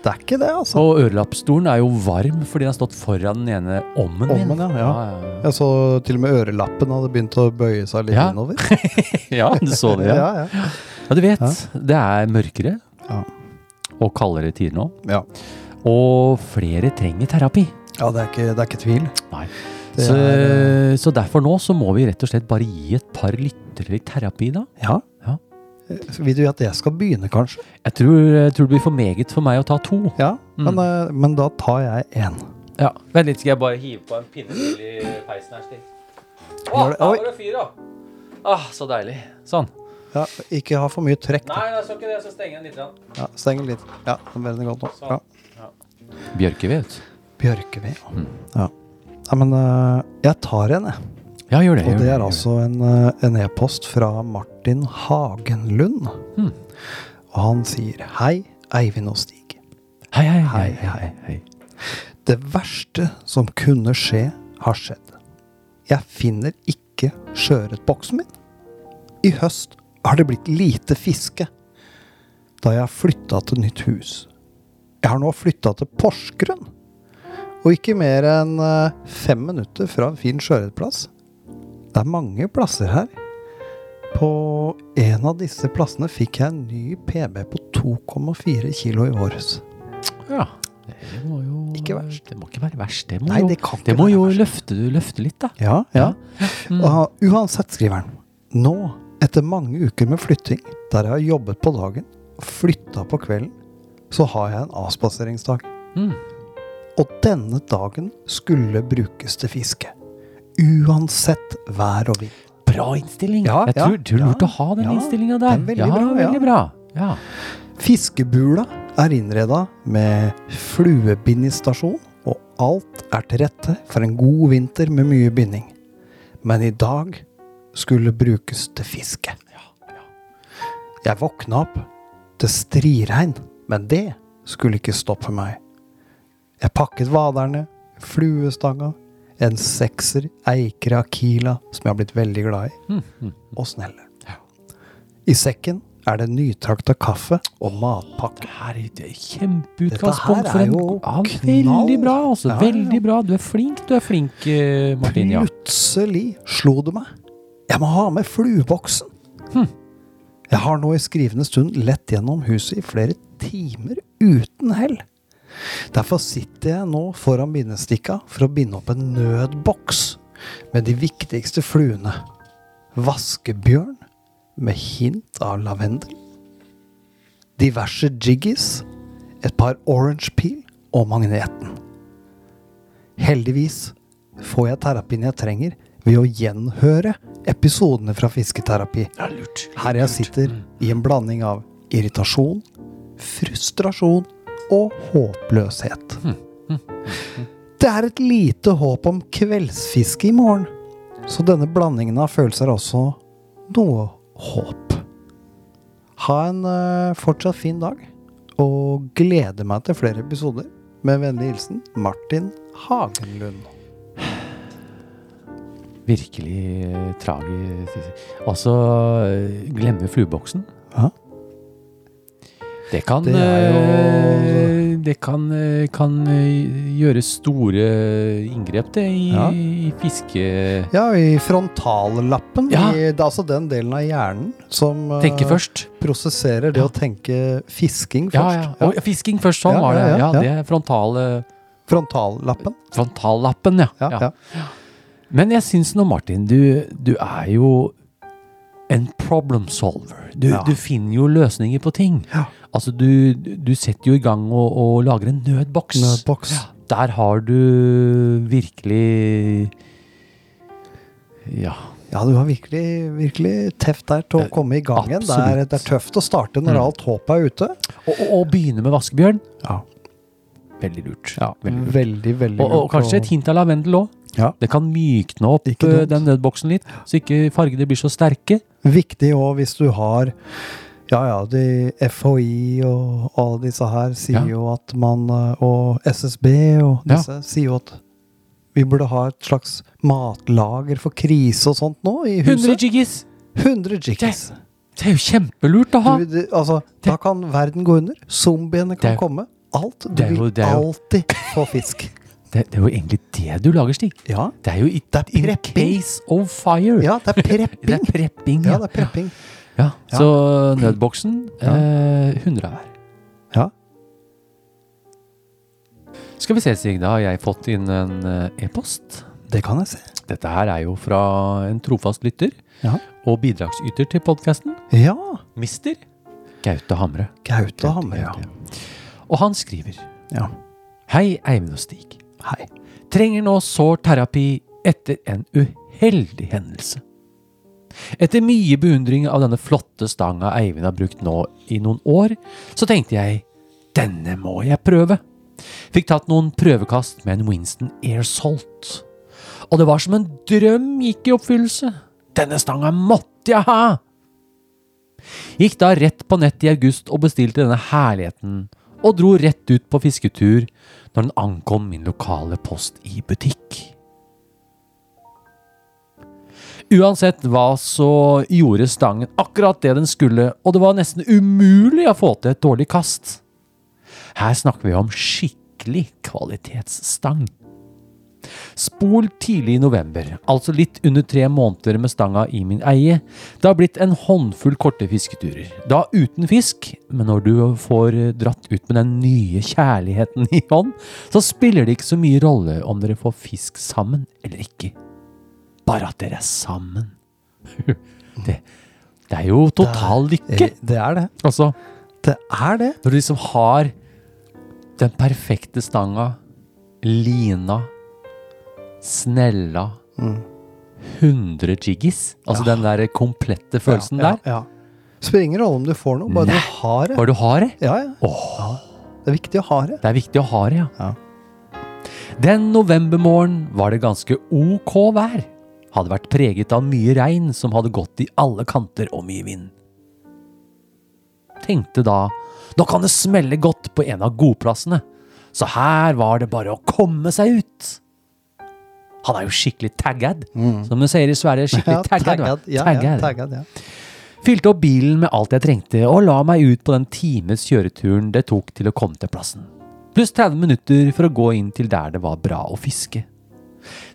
Det er ikke det, altså. Og ørelappstolen er jo varm fordi den har stått foran den ene ommen min. Ommen, ja, ja. ja, ja. Jeg så til og med ørelappen hadde begynt å bøye seg litt Ja. innover. ja du så det, ja. ja, ja. Ja, du vet. Det er mørkere Ja. og kaldere tider nå. ja. Og flere trenger terapi. Ja, det er ikke, det er ikke tvil. Nei. eh, Det Så, er, så derfor nå så må vi rett og slett bare gi et par lyttere litt terapi, da. Ja. Ja. Eh, Vil du at jeg skal begynne, kanskje? Jeg tror, jeg tror det blir for meget for meg å ta to. Ja, Mm. men, eh, men da tar jeg én. Ja, Vent litt, skal jeg bare hive på en pinne til i peisen her. Stig. Å, Gjør det. der var Oi. det fyr, da! Ah, så deilig. Sånn. Ja, ikke ha for mye trekk. da. Nei, jeg skal ikke det, så stenger jeg den litt. grann. Ja, steng litt. Ja, det er veldig godt nå. Sånn. Ja. Bjørkeved. Bjørkeved. Ja. Nei, men eh, jeg tar en, jeg. Ja, gjør det. Og gjør det gjør er altså en eh, en e-post fra Martin Hagenlund. Og han sier hei, Eivind og Stig. Hei, hei, hei. Hei, hei, hei. Det verste som kunne skje, har skjedd. Jeg finner ikke sjøørretboksen min. I høst har det blitt lite fiske, da jeg har flytta til nytt hus. Jeg har nå flytta til Porsgrunn, og ikke mer enn eh, fem minutter fra en fin sjøørretplass. Det er mange plasser her. På en av disse plassene fikk jeg en ny PB på 2,4 kilo i våres. Ja. Det må jo Ikke verst. Det må ikke være verst. Det må Nei, jo, det kan ikke må være jo verst. løfte, løfte litt, da. Ja, ja. Og uansett, skriver han. Nå, etter mange uker med flytting, der jeg har jobbet på dagen og flytta på kvelden, så har jeg en avspaseringsdag. Mm. Og denne dagen skulle brukes til fiske. Uansett vær og vind. Bra innstilling. Ja, jeg ja, tror det er lurt ja, å ha den ja. innstillinga der. Den er veldig ja, bra, ja. veldig bra. Ja. Fiskebula er innreda med fluebindestasjon, og alt er til rette for en god vinter med mye binding. Men i dag skulle brukes til fiske. Jeg våkna opp til striregn, men det skulle ikke stoppe meg. Jeg pakket vaderne, fluestanga, en sekser Eikere Akila, som jeg har blitt veldig glad i, og snelle. I sekken er det nytrakta kaffe og matpakke. Det her er et kjempeutgangspunkt Dette her for er en jo ja, knall. Veldig bra, altså. Ja, ja, ja. Veldig bra. Du er flink, du er flink, eh, Martin. Ja. Plutselig slo det meg. Jeg må ha med flueboksen. Hm. Jeg har nå i skrivende stund lett gjennom huset i flere timer uten hell. Derfor sitter jeg nå foran bindestikka for å binde opp en nødboks med de viktigste fluene. Vaskebjørn med hint av lavendel. Diverse jiggies, et par orange peel og magneten. Heldigvis får jeg terapien jeg trenger ved å gjenhøre episodene fra fisketerapi. Her jeg sitter i en blanding av irritasjon, frustrasjon og håpløshet. Det er et lite håp om kveldsfiske i morgen, så denne blandingen av følelser er også noe håp. Ha en eh, fortsatt fin dag, og gleder meg til flere episoder. Med vennlig hilsen Martin Hagenlund. Virkelig eh, tragisk. Altså, eh, glemme flueboksen. Ja. Det kan Det er eh, jo- Det kan, eh, kan eh, gjøre store eh, inngrep, det, i, Ja. i fiske... Ja, i frontallappen. Ja. I, det er altså den delen av hjernen som eh, Tenke først. prosesserer det å tenke fisking Ja, først. ja. Og fisking først, sånn Ja, var det. ja, Ja, ja, ja. det er frontale Frontallappen. Frontallappen, ja. Ja, ja. ja. Men jeg syns nå, Martin, du, du er jo en problem solver. Du, Ja. du finner jo løsninger på ting. Ja. Altså, du, du setter jo i gang og, og lager en nødboks. Nødboks. Ja, Der har du virkelig Ja. Ja, du har virkelig, virkelig teft der til å Det- komme i gang igjen. Det er, absolutt. Mm. det er tøft å starte når alt håpet er ute. Og, og, og begynne med vaskebjørn. Ja. Veldig lurt. Veldig lurt. Veldig, veldig Og, og lurt kanskje å- et hint av lavendel òg. Ja. Det kan mykne opp Ikke eh, den dumt. nødboksen litt, så ikke fargene blir så sterke. Viktig òg hvis du har Ja ja, de FHI og alle disse her sier Ja. jo at man eh, Og SSB og Ja. disse sier jo at vi burde ha et slags matlager for krise og sånt nå i 100 huset. jiggis! 100 jigs. Det er jo kjempelurt å ha! Du, det, altså, da kan verden gå under. Zombiene Det kan er- komme. Alt. Du det er jo- vil det er jo- alltid få fisk. Det, det er jo egentlig det du lager, Stig. Ja. Det er jo i, Det er in prepping. case of fire. ja, det er Det er prepping. prepping, Ja, ja. det er prepping. ja. Så nødboksen eh, 100 hver. Ja. Skal vi se, Stig. Da har jeg fått inn en eh, e-post. Det kan jeg se. Dette her er jo fra en trofast lytter Ja. og bidragsyter til podkasten, Ja. mister Gaute Hamre. Gaute Hamre, ja. Og han skriver ja. Hei, Eivind og Stig. Hei. trenger nå sår terapi etter en uheldig hendelse. Etter mye beundring av denne flotte stanga Eivind har brukt nå i noen år, så tenkte jeg denne må jeg prøve. Fikk tatt noen prøvekast med en Winston Air Salt. Og det var som en drøm gikk i oppfyllelse. Denne stanga måtte jeg ha! Gikk da rett på nett i august og bestilte denne herligheten, og dro rett ut på fisketur når den ankom min lokale post i butikk. Uansett hva så gjorde stangen akkurat det den skulle, og det var nesten umulig å få til et dårlig kast. Her snakker vi om skikkelig kvalitetsstang. Spol tidlig i november, altså litt under tre måneder med stanga i min eie. Det har blitt en håndfull korte fisketurer. Da uten fisk, men når du får dratt ut med den nye kjærligheten i hånd, så spiller det ikke så mye rolle om dere får fisk sammen eller ikke. Bare at dere er sammen. Det, det er jo total lykke. Eh, Det er det. Altså, Det er det. når du liksom har den perfekte stanga, lina, snella, Mm. 100 jiggis, altså den der komplette følelsen ja, der, ja, ja. Spiller ingen rolle om du får noe, bare du har det. bare du har eh? det. Ja, ja. Det er viktig å ha det. Det er viktig å ha det, ja. Ja. Den novembermorgen var det ganske ok vær. Hadde vært preget av mye regn som hadde gått i alle kanter og mye vind. Tenkte da, nå kan det smelle godt på en av godplassene, så her var det bare å komme seg ut. Han er jo skikkelig taggad, som de sier i Sverige. skikkelig taggad. va? Mm. Ja, ja, Taggad. taggad, ja. Fylte opp bilen med alt jeg trengte og la meg ut på den times kjøreturen det tok til å komme til plassen. Pluss 30 minutter for å gå inn til der det var bra å fiske.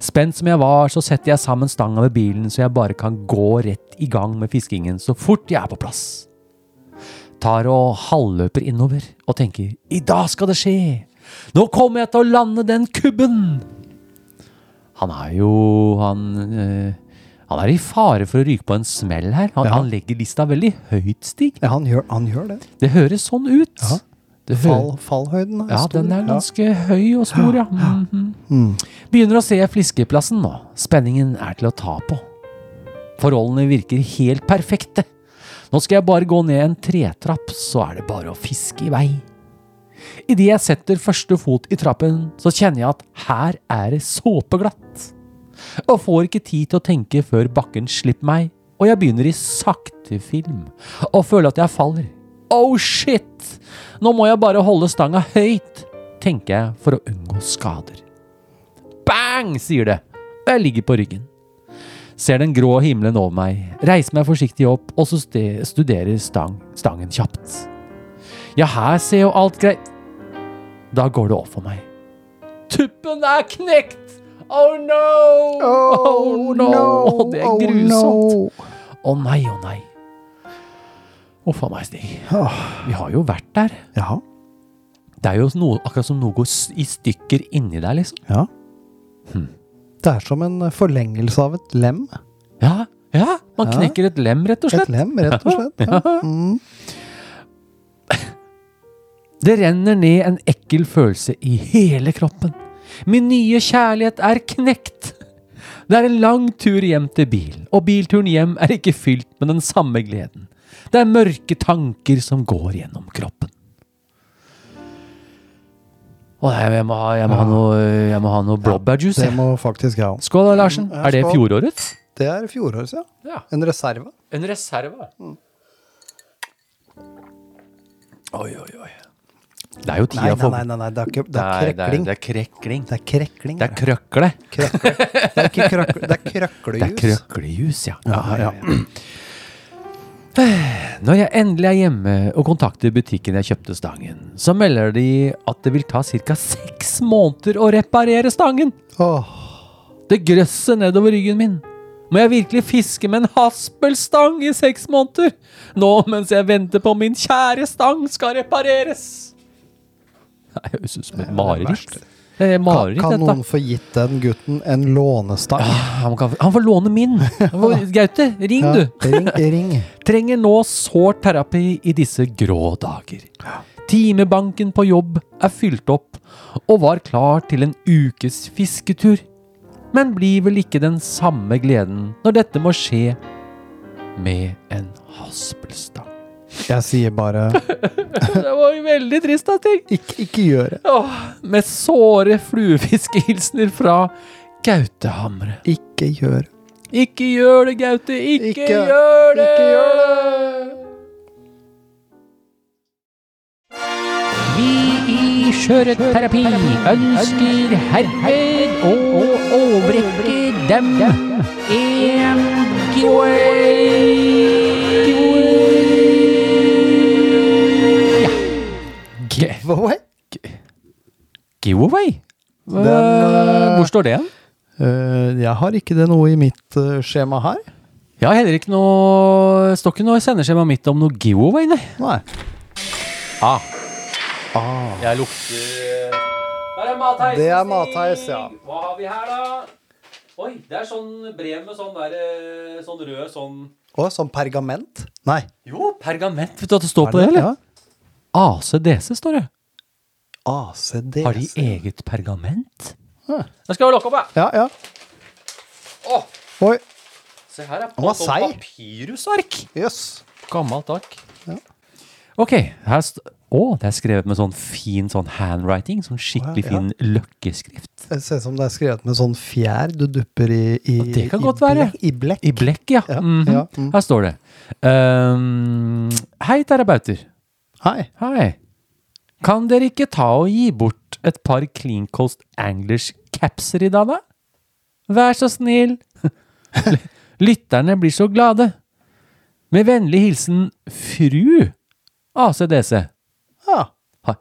Spent som jeg var, så setter jeg sammen stanga ved bilen så jeg bare kan gå rett i gang med fiskingen så fort jeg er på plass. Tar og halvløper innover og tenker i dag skal det skje! Nå kommer jeg til å lande den kubben! Han er jo han eh, Han er i fare for å ryke på en smell her. Han, Ja. han legger lista veldig høyt, Stig. ja han, gjør, han gjør det. Det høres sånn ut. Ja. Det hø- Fall, fallhøyden er ja, stor. den er Ja. ganske høy og stor, ja. Mhm. Mm. Begynner å se fliskeplassen nå. Spenningen er til å ta på. Forholdene virker helt perfekte. Nå skal jeg bare gå ned en tretrapp, så er det bare å fiske i vei. Idet jeg setter første fot i trappen, så kjenner jeg at her er det såpeglatt. Og får ikke tid til å tenke før bakken slipper meg, og jeg begynner i sakte film og føler at jeg faller. Oh shit! Nå må jeg bare holde stanga høyt, tenker jeg for å unngå skader. Bang, sier det. Og jeg ligger på ryggen. Ser den grå himmelen over meg, reiser meg forsiktig opp og så ste- studerer stang, stangen kjapt. Ja, her ser jo alt greit Da går det opp for meg. Tuppen er knekt! Oh no! Oh, no! Det er oh, grusomt. no. Å nei, å nei. Huff a meg, Stig. Vi har jo vært der. Ja. Det er jo noe, akkurat som noe går s- i stykker inni deg, liksom. ja. Hm. Det er som en forlengelse av et lem. Ja, ja. Man Ja. knekker et lem, rett og Et slett. lem, rett og slett. Ja. Mm. Det renner ned en ekkel følelse i hele kroppen. Min nye kjærlighet er knekt. Det er en lang tur hjem til bilen, og bilturen hjem er ikke fylt med den samme gleden. Det er mørke tanker som går gjennom kroppen. Å nei, jeg må ha, jeg må ha noe, jeg må ha noe blåbærjuice. Det jeg. må faktisk jeg òg. Skål da, Larsen. Ja, Er det skål. fjorårets? Det er fjorårets, ja. Ja. En reserve. En reserve. Mm. Oi, oi, oi. Det er jo Nei, tida nei, for nei, nei, nei. Det, er ikke, det Nei, er krekling. Det er, det er krekling. Det er krekling. Det er krøkle. krøkle. Det er ikke krøkle, det er krøklejus. Det er krøklejus, ja. Ja, ja. Når jeg endelig er hjemme og kontakter butikken jeg kjøpte stangen, så melder de at det vil ta ca. seks måneder å reparere stangen. Åh, Det grøsser nedover ryggen min. Må jeg virkelig fiske med en haspelstang i seks måneder? Nå mens jeg venter på min kjære stang skal repareres! Det høres ut som et mareritt. Det er mareritt, kan dette. noen få gitt den gutten en lånestang? Han, kan, han får låne min. Han får- Gaute, ring, Ja, du. ring, ring. Trenger nå sårt terapi i disse grå dager. Timebanken på jobb er fylt opp og var klar til en ukes fisketur. Men blir vel ikke den samme gleden når dette må skje med en haspelstang. Jeg sier bare Det var jo veldig trist, da, Ting. ikke, ikke gjør det. Åh, med såre fluefiskehilsener fra Gautehamre. Ikke gjør det. Ikke gjør det, Gaute! Ikke, Ikke- gjør det! ikke Vi i Skjøreterapi ønsker herved å overrekke dem en giveaway. Ja. Giveaway? Giveaway? Den, eh, Hvor står det hen? Eh, jeg har ikke det noe i mitt eh, skjema her. Jeg har heller ikke noe Står ikke noe sendeskjema mitt om noe giveaway, nei. Nei. Ah. Jeg lukter Der er matheisen, Ah. Det er matheis, ja. Stig. Hva har vi her, da? Oi, det er sånn brev med sånn der eh, Sånn rød sånn Å, som pergament? Nei. Jo, pergament. Vet du at det står Er på det, eller? Ja. ACDC står det. ACD. Har de e- eget pergament? Ja. Jeg skal vi lukke opp, jeg. Ja, ja. Å, Oi. se her er var på sånn seig. papyrusark. Jøss. Gammelt ark. Ja. Ok, her st Å, det er skrevet med sånn fin sånn handwriting. Sånn skikkelig Å, ja. fin løkkeskrift. Det ser ut som det er skrevet med sånn fjær du dupper i i, det kan i, godt være. blekk- I blekk. I blekk, ja. Ja, Mhm. ja, mm. Her står det. Ehm, hei, terapeuter. Hei. Hei. Kan dere ikke ta og gi bort et par Clean Coast Anglers capser i dag, da? Vær så snill. Lytterne blir så glade. Med vennlig hilsen fru ACDC. Ja. Ha-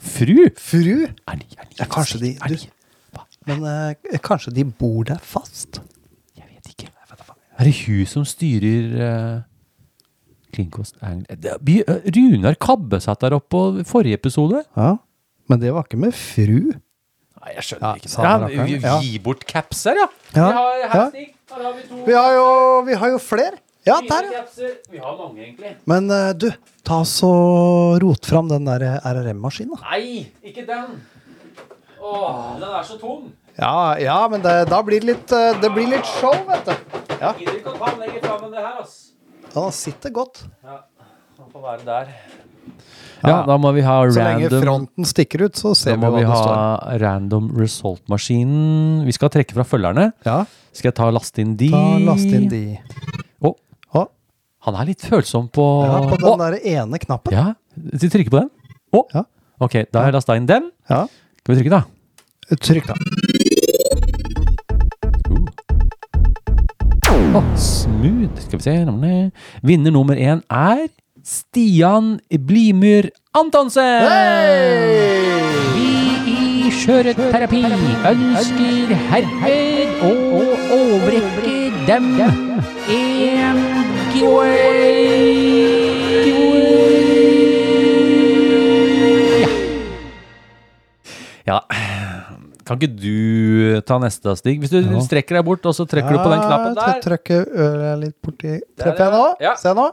Fru? Fru. Er de, er de, Ja, kanskje de- er du- de- hva? Men eh, kanskje de bor der fast? Jeg vet ikke. Er det hun som styrer eh, Kringkost Angl- Det blir- eh, Runar Kabbe satt der oppe på forrige episode. Ja. Men det var ikke med fru. Nei, jeg skjønner Ja, ikke. sa Ja, han vi- rakkeren. vi Ja. Gi bort caps her, ja. Ja, Vi har, her, ja. Stig, her har vi to. Vi har jo, vi har jo flere. Ja, der, ja. Vi har mange, egentlig. Men eh, du, ta så rot fram den der RRM-maskinen, da. Nei, ikke den. Åh, den er så tung. Ja, ja, men det, da blir det litt eh, Det blir litt show, vet du. Ja. Gidder ikke å ta den lenger fram enn det her, ass. Han sitter godt. Han får være der. Ja, da må vi ha Så lenge random fronten stikker ut, så Da ser vi må hva vi det ha står. random result-maskinen. Vi skal trekke fra følgerne. Ja, Skal jeg ta og laste inn de? da last inn de. Å, Å, han er litt følsom på ja, på den Å, der ene knappen. Ja, de trykker på den. Å, Ja. ok, da har jeg lasta inn den. Ja. Skal vi trykke, da? Trykk, da. Å, smooth. Skal vi se navnet. Vinner nummer én er Stian Blimyr Antonsen! Vi i Skjøreterapi ønsker herved å overrekke dem en giveaway. Ja. Kan ikke du ta neste, Stig? Hvis du strekker deg bort, og så trykker du på den knappen Ja, der. tr- Trykker Ah, øret litt borti Der, Treffer jeg nå? ja. Mm. Se nå?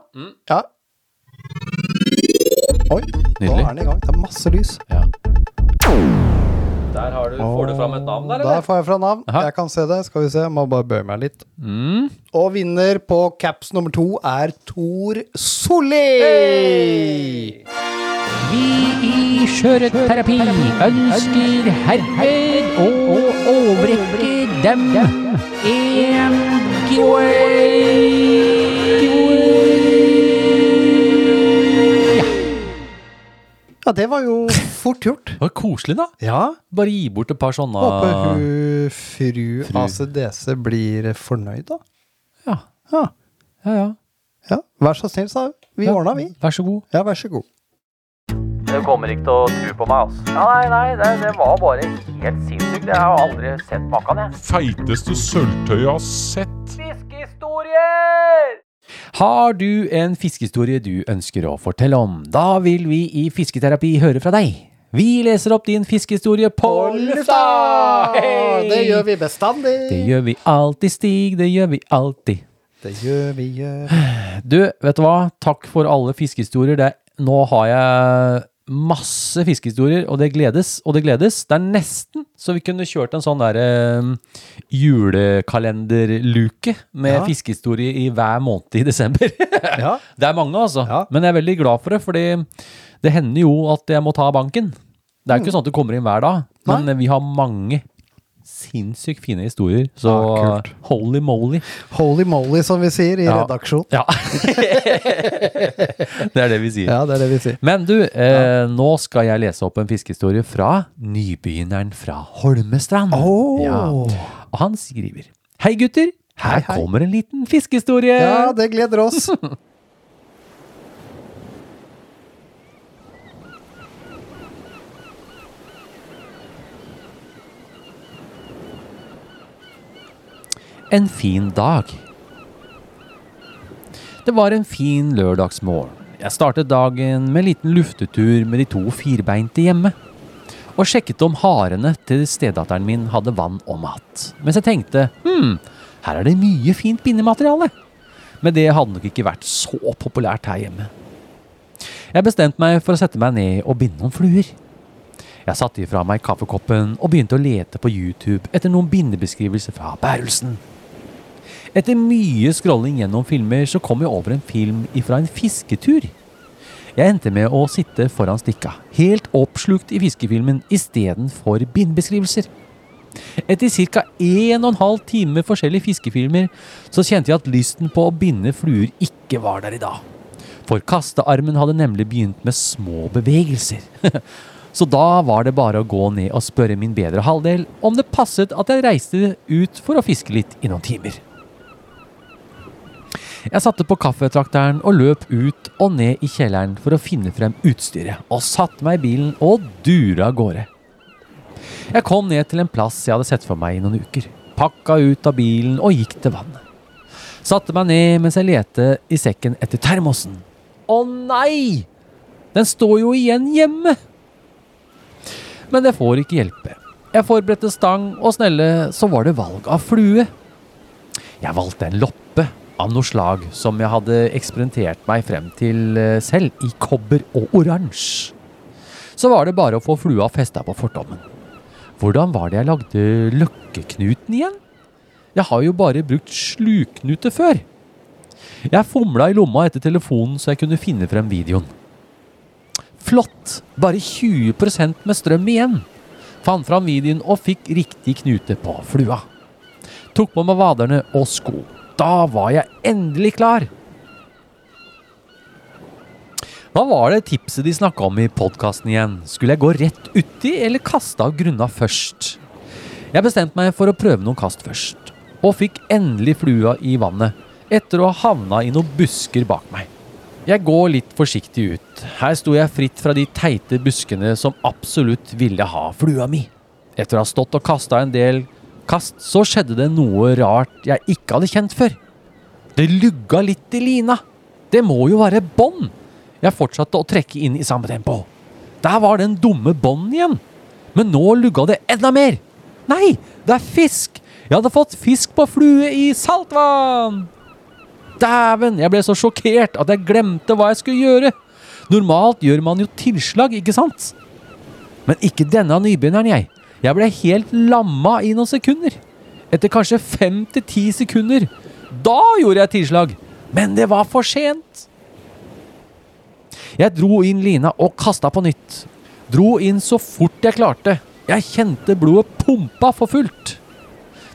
Ja. Oi, nå Nydelig. er den i gang. Det er masse lys. Ja. Der har du, får du fram et navn der, Der eller? får jeg fra navn. Aha. Mm. Jeg kan se det. Skal vi se, jeg må bare bøye meg litt. Og vinner på caps nummer to er Tor Solli! Vi i Skjøreterapi ønsker herved å overrekke dem en giveaway. Ja, det var jo fort gjort. Det var koselig, da. Ja. Bare gi bort et par sånne Håper hun fru, ACDC blir fornøyd, da. Ja, ja. Ja. ja. ja. Vær så snill, sa hun. Vi Ja. ordna, vi. Vær så god. Ja, vær så god. Du kommer ikke til å tro på meg, altså. Nei, nei, det, det var bare helt sinnssykt. Jeg har aldri sett maken, jeg. Feiteste sølvtøyet jeg har sett. Fiskehistorier! Har du en fiskehistorie du ønsker å fortelle om? Da vil vi i Fisketerapi høre fra deg. Vi leser opp din fiskehistorie på lufta! Hei! Det gjør vi bestandig. Det gjør vi alltid, Stig. Det gjør vi alltid. Det gjør vi. gjør Du, vet du hva? Takk for alle fiskehistorier. Det, nå har jeg masse fiskehistorier, og det gledes, og det gledes. Det er nesten så vi kunne kjørt en sånn der eh, julekalenderluke med Ja. fiskehistorie i hver måned i desember. Ja. Det er mange, altså. Ja. Men jeg er veldig glad for det, fordi det hender jo at jeg må ta banken. Det Mm. er ikke sånn at du kommer inn hver dag, men vi har mange sinnssykt fine historier. Så Ja, kult. holy moly. Holy moly, som vi sier i Ja. redaksjon. Ja. det er det vi sier. Ja, det er det vi sier. Men du, eh, nå skal jeg lese opp en fiskehistorie fra nybegynneren fra Holmestrand. Åh. Ja. Og han skriver Hei, gutter. Her kommer en liten fiskehistorie. Ja, det gleder oss. En fin dag. Det var en fin lørdagsmorgen. Jeg startet dagen med en liten luftetur med de to firbeinte hjemme. Og sjekket om harene til stedatteren min hadde vann og mat. Mens jeg tenkte hm, her er det mye fint bindemateriale. Men det hadde nok ikke vært så populært her hjemme. Jeg bestemte meg for å sette meg ned og binde noen fluer. Jeg satte ifra meg kaffekoppen og begynte å lete på YouTube etter noen bindebeskrivelser fra bærelsen. Etter mye scrolling gjennom filmer så kom jeg over en film ifra en fisketur. Jeg endte med å sitte foran stikka, helt oppslukt i fiskefilmen istedenfor bindbeskrivelser. Etter ca. 1,5 time forskjellige fiskefilmer så kjente jeg at lysten på å binde fluer ikke var der i dag. For kastearmen hadde nemlig begynt med små bevegelser. Så da var det bare å gå ned og spørre min bedre halvdel om det passet at jeg reiste ut for å fiske litt i noen timer. Jeg satte på kaffetrakteren og løp ut og ned i kjelleren for å finne frem utstyret, og satte meg i bilen og dura av gårde. Jeg kom ned til en plass jeg hadde sett for meg i noen uker, pakka ut av bilen og gikk til vannet. Satte meg ned mens jeg lette i sekken etter termosen. Å nei! Den står jo igjen hjemme! Men det får ikke hjelpe. Jeg forberedte stang og snelle, så var det valg av flue. Jeg valgte en loppe av noe slag som jeg hadde eksperimentert meg frem til eh, selv, i kobber og oransje. Så var det bare å få flua festa på fortommen. Hvordan var det jeg lagde løkkeknuten igjen? Jeg har jo bare brukt sluknute før. Jeg fomla i lomma etter telefonen så jeg kunne finne frem videoen. Flott! Bare 20 med strøm igjen. Fant fram videoen og fikk riktig knute på flua. Tok på meg vaderne og sko. Da var jeg endelig klar! Hva var det tipset de snakka om i podkasten igjen? Skulle jeg gå rett uti, eller kaste av grunna først? Jeg bestemte meg for å prøve noen kast først, og fikk endelig flua i vannet etter å ha havna i noen busker bak meg. Jeg går litt forsiktig ut. Her sto jeg fritt fra de teite buskene som absolutt ville ha flua mi. Etter å ha stått og kasta en del kast, så skjedde det noe rart jeg ikke hadde kjent før. Det lugga litt i lina. Det må jo være bånd. Jeg fortsatte å trekke inn i samme tempo. Der var den dumme bånden igjen. Men nå lugga det enda mer. Nei, det er fisk! Jeg hadde fått fisk på flue i saltvann! Dæven, jeg ble så sjokkert at jeg glemte hva jeg skulle gjøre. Normalt gjør man jo tilslag, ikke sant? Men ikke denne nybegynneren, jeg. Jeg ble helt lamma i noen sekunder. Etter kanskje fem til ti sekunder. Da gjorde jeg tilslag. Men det var for sent. Jeg dro inn lina og kasta på nytt. Dro inn så fort jeg klarte. Jeg kjente blodet pumpa for fullt.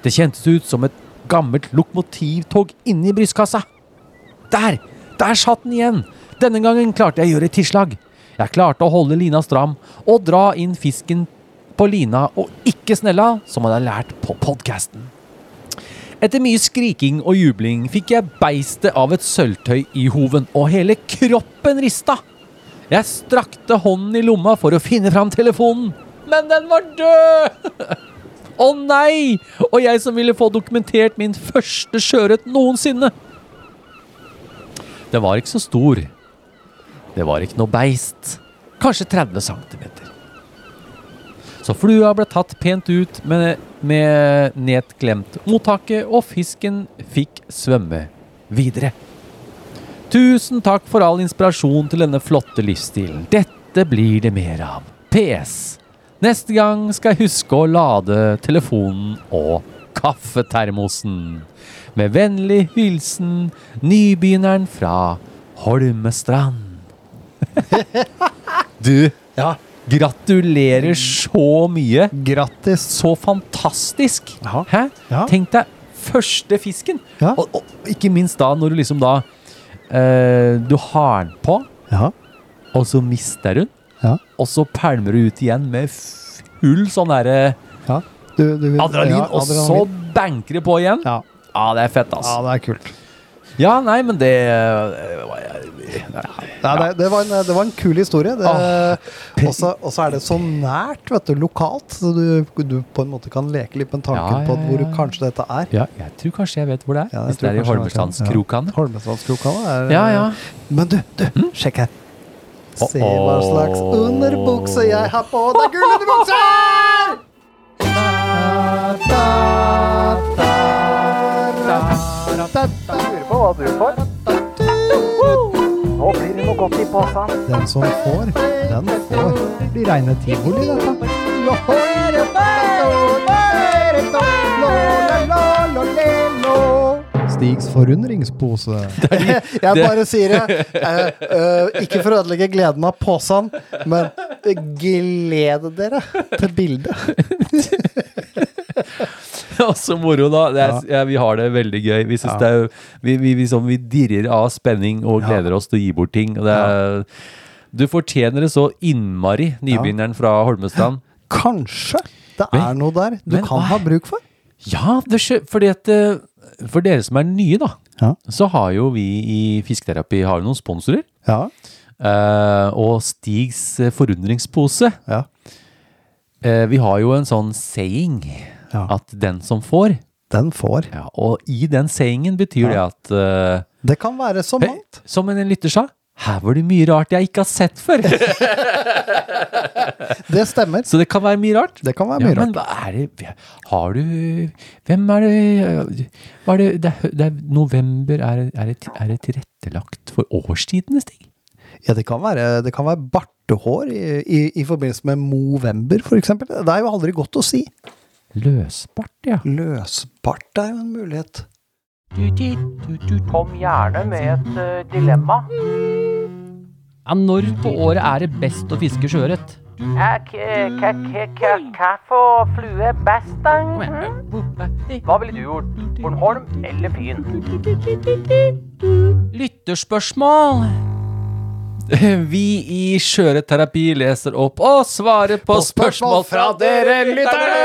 Det kjentes ut som et gammelt lokomotivtog inni brystkassa. Der! Der satt den igjen! Denne gangen klarte jeg å gjøre et tilslag. Jeg klarte å holde lina stram og dra inn fisken på lina og ikke snella, som han har lært på podkasten. Etter mye skriking og jubling fikk jeg beistet av et sølvtøy i hoven, og hele kroppen rista. Jeg strakte hånden i lomma for å finne fram telefonen, men den var død! Å nei! Og jeg som ville få dokumentert min første sjøørret noensinne. Den var ikke så stor. Det var ikke noe beist. Kanskje 30 cm. Så flua ble tatt pent ut med, med nedklemt mottaket, og fisken fikk svømme videre. Tusen takk for all inspirasjon til denne flotte livsstilen. Dette blir det mer av. PS. Neste gang skal jeg huske å lade telefonen og kaffetermosen. Med vennlig hilsen nybegynneren fra Holmestrand. du, Ja. gratulerer så mye. Grattis. Så fantastisk! Ja. Hæ? Ja. Tenk deg første fisken! Ja. Og, og ikke minst da når du liksom da eh, Du har den på, Ja. og så mister du den. Ja. Og så pælmer du ut igjen med full sånn derre ja. Du, du, adrenalin, ja, og så adrenalin. banker det på igjen. Ja. ja. det er fett, ja, altså. det er kult. Ja, nei, men det eh, var- Nei, det, det, var en, det var en kul historie. Det- Åh. Og så og så er det så nært, vet du, lokalt. Så du, du på en måte kan leke litt med tanken Ja, ja, på hvor ja, ja. kanskje dette er. Ja, jeg tror kanskje jeg vet hvor det er. Ja, jeg Hvis tror det er i kanskje man kan- Holmestrandskrokan. Ja. Holmestrandskrokan er Ja, ja. Men du, du, sjekk her. Se hva Uh-oh. slags underbukse jeg har på. Det er gule underbukser! Lurer på hva du får. Nå blir det noe godt i posen. Den som får, den får. Det blir reine tivoli, dette. Stigs forundringspose. Jeg bare sier det. eh, eh, Ikke for å ødelegge gleden av posen, men gled dere til bildet. Ja, så moro, da. Det er, ja. vi har det veldig gøy. Vi, synes det er, vi, vi, vi, sånn, vi dirrer av spenning og gleder oss til å gi bort ting. Og det er, Du fortjener det så innmari, nybegynneren fra Holmestrand. Kanskje det Men- er noe der du men kan hva- ha bruk for. Ja, det skjer, fordi at eh, For dere som er nye, da, Ja. så har jo vi i Fisketerapi har jo noen sponsorer. Ja. Eh, og Stigs eh, forundringspose Ja. eh, Vi har jo en sånn saying Ja. at den som får Den får. ja, Og i den sayingen betyr det at eh, Det kan være så Pe- mangt. Som en lytter sa, her var det mye rart jeg ikke har sett før. Det stemmer. Så det kan være mye rart. Det kan være Ja, mye men rart. hva er det Har du Hvem er det Hva er det, det, er, det er, November er, det- er, det, er det tilrettelagt for årstidene, Stig? Ja, det kan være, det kan være bartehår i, i, i forbindelse med Movember, f.eks. Det er jo aldri godt å si. Løsbart, ja. Løsbart er jo en mulighet. Kom gjerne med et eh, dilemma. Ja, når på året er det best å fiske sjøørret? Hva for flue best, da? Mhm. Hva ville du gjort? Bornholm eller Fyn? Lytterspørsmål! Vi i Skjøreterapi leser opp og svarer på, spørsmål fra dere lyttere!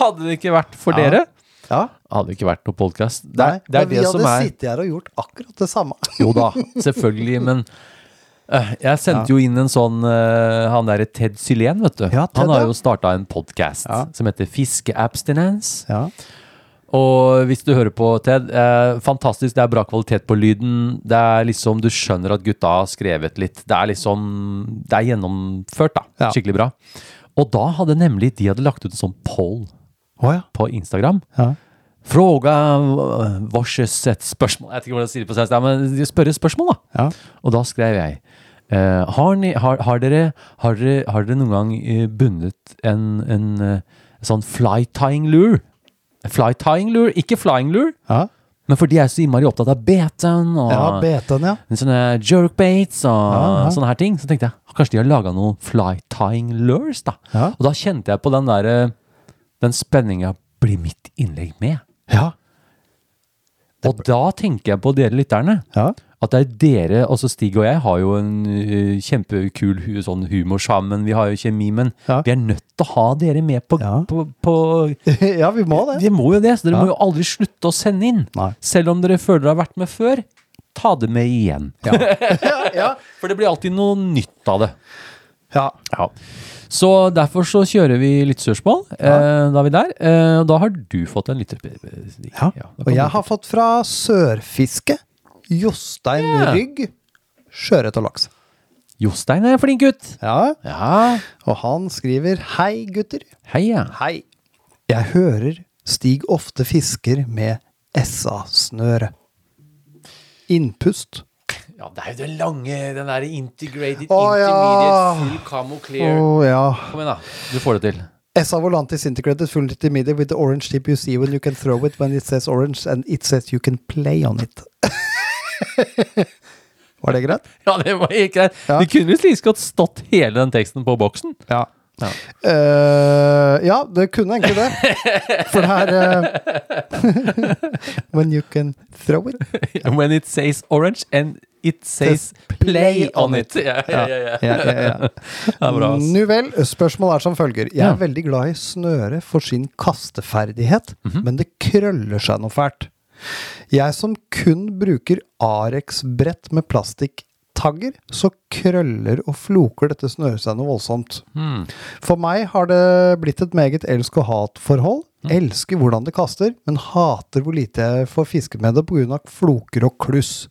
Hadde det ikke vært for dere, Ja, hadde det ikke vært noen podkast. Det, nei, er- det er men vi det som hadde er sittet her og gjort akkurat det samme. Jo da, selvfølgelig, men eh, jeg sendte jo inn en sånn eh, Han derre Ted Sylen, vet du. Ja, Ted, han har ja. jo starta en podkast Ja. som heter Fiskeabstinence. Ja. Og hvis du hører på, Ted, eh, fantastisk. Det er bra kvalitet på lyden. Det er liksom Du skjønner at gutta har skrevet litt. Det er liksom Det er gjennomført, da. Ja. Skikkelig bra. Og da hadde nemlig de hadde lagt ut en sånn poll Å ja. på Instagram. Ja. Fråga øh, vorses et spørsmål Jeg vet ikke hvordan jeg sier det på svensk, ja, men de spør et spørsmål, da. Ja. Og da skrev jeg eh, har, ni, har, har, dere, har, dere, har dere noen gang eh, bundet en, en eh, sånn fly tying lure? Fly tying lure, ikke flying lure. Ja, Men for de er så innmari opptatt av beten og ja BT-en, ja. sånne jerkbaits og ja. sånne her ting, så tenkte jeg «Ah, kanskje de har laga noen fly tying lures, da. Ja. Og da kjente jeg på den der eh, Den spenninga blir mitt innlegg med. Ja. Og da tenker jeg på dere lytterne. Ja. At det er dere, altså Stig og jeg, har jo en eh, kjempekul hu, sånn humor sammen. Vi har jo kjemi, men Ja. vi er nødt til å ha dere med på, Ja. på, på ja, vi må det. Vi må jo det, så dere Ja. må jo aldri slutte å sende inn. Nei. Selv om dere føler dere har vært med før, ta det med igjen. For det blir alltid noe nytt av det. Ja. Så derfor så kjører vi lyttespørsmål. Eh, da er vi der. Eh, og da har du fått en lytter... Ja. Og jeg har fått fra Sørfiske. Jostein Rygg. Sjøørret og laks. Jostein er en flink gutt. Ja. Ja. Og han skriver Hei, gutter. Hei, ja. Hei. Jeg hører Stig ofte fisker med SA-snøre. Innpust. Ja, det er jo den lange, den der integrated, Å, ja. intermediate, full camo Å clear. ja. Kom igjen, da. Du får det til. SA Volantis integrated full intermediate with the orange tip you see when you can throw it when it says orange and it says you can play on it. Var det greit? Ja, det var helt greit. Ja. Det kunne jo like godt stått hele den teksten på boksen. Ja. Ja. Eh, ja, det kunne egentlig det. For det er eh, When you can throw it. When it says orange and it says play on it. Ja, ja, ja. ja. Ja, ja, ja. Det er bra, ass. Nu vel, spørsmålet er som følger. Jeg er Ja. veldig glad i snøre for sin kasteferdighet, Mhm. men det krøller seg noe fælt. Jeg som kun bruker Arex-brett med plastikktagger, så krøller og floker dette snøret seg noe voldsomt. Hmm. For meg har det blitt et meget elsk- og hatforhold. Elsker hvordan det kaster, men hater hvor lite jeg får fisket med det pga. floker og kluss.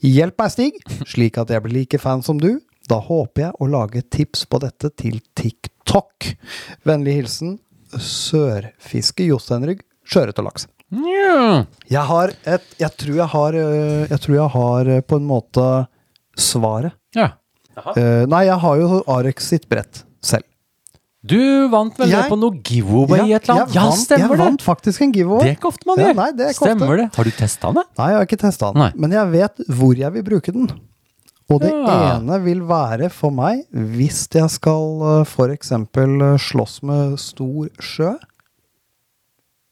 Hjelp meg, Stig, slik at jeg blir like fan som du. Da håper jeg å lage tips på dette til TikTok. Vennlig hilsen Sørfiske Josteinrygg, sjøørret og laks. Nja. Jeg har et Jeg tror jeg har øh, Jeg tror jeg har øh, på en måte svaret. Ja. Eh, nei, jeg har jo Arex sitt brett selv. Du vant vel det Jeg- på noe giveaway i et eller annet? jeg Ja, vant, jeg stemmer det! vant faktisk en giveaway. Det er ikke ofte man Ja, gjør. nei, det er ikke ofte. stemmer det. Har du testa den? da? Nei, jeg har ikke testa den. Nei. Men jeg vet hvor jeg vil bruke den. Og det Ja. ene vil være for meg hvis jeg skal eh, f.eks. eh, slåss med stor sjø,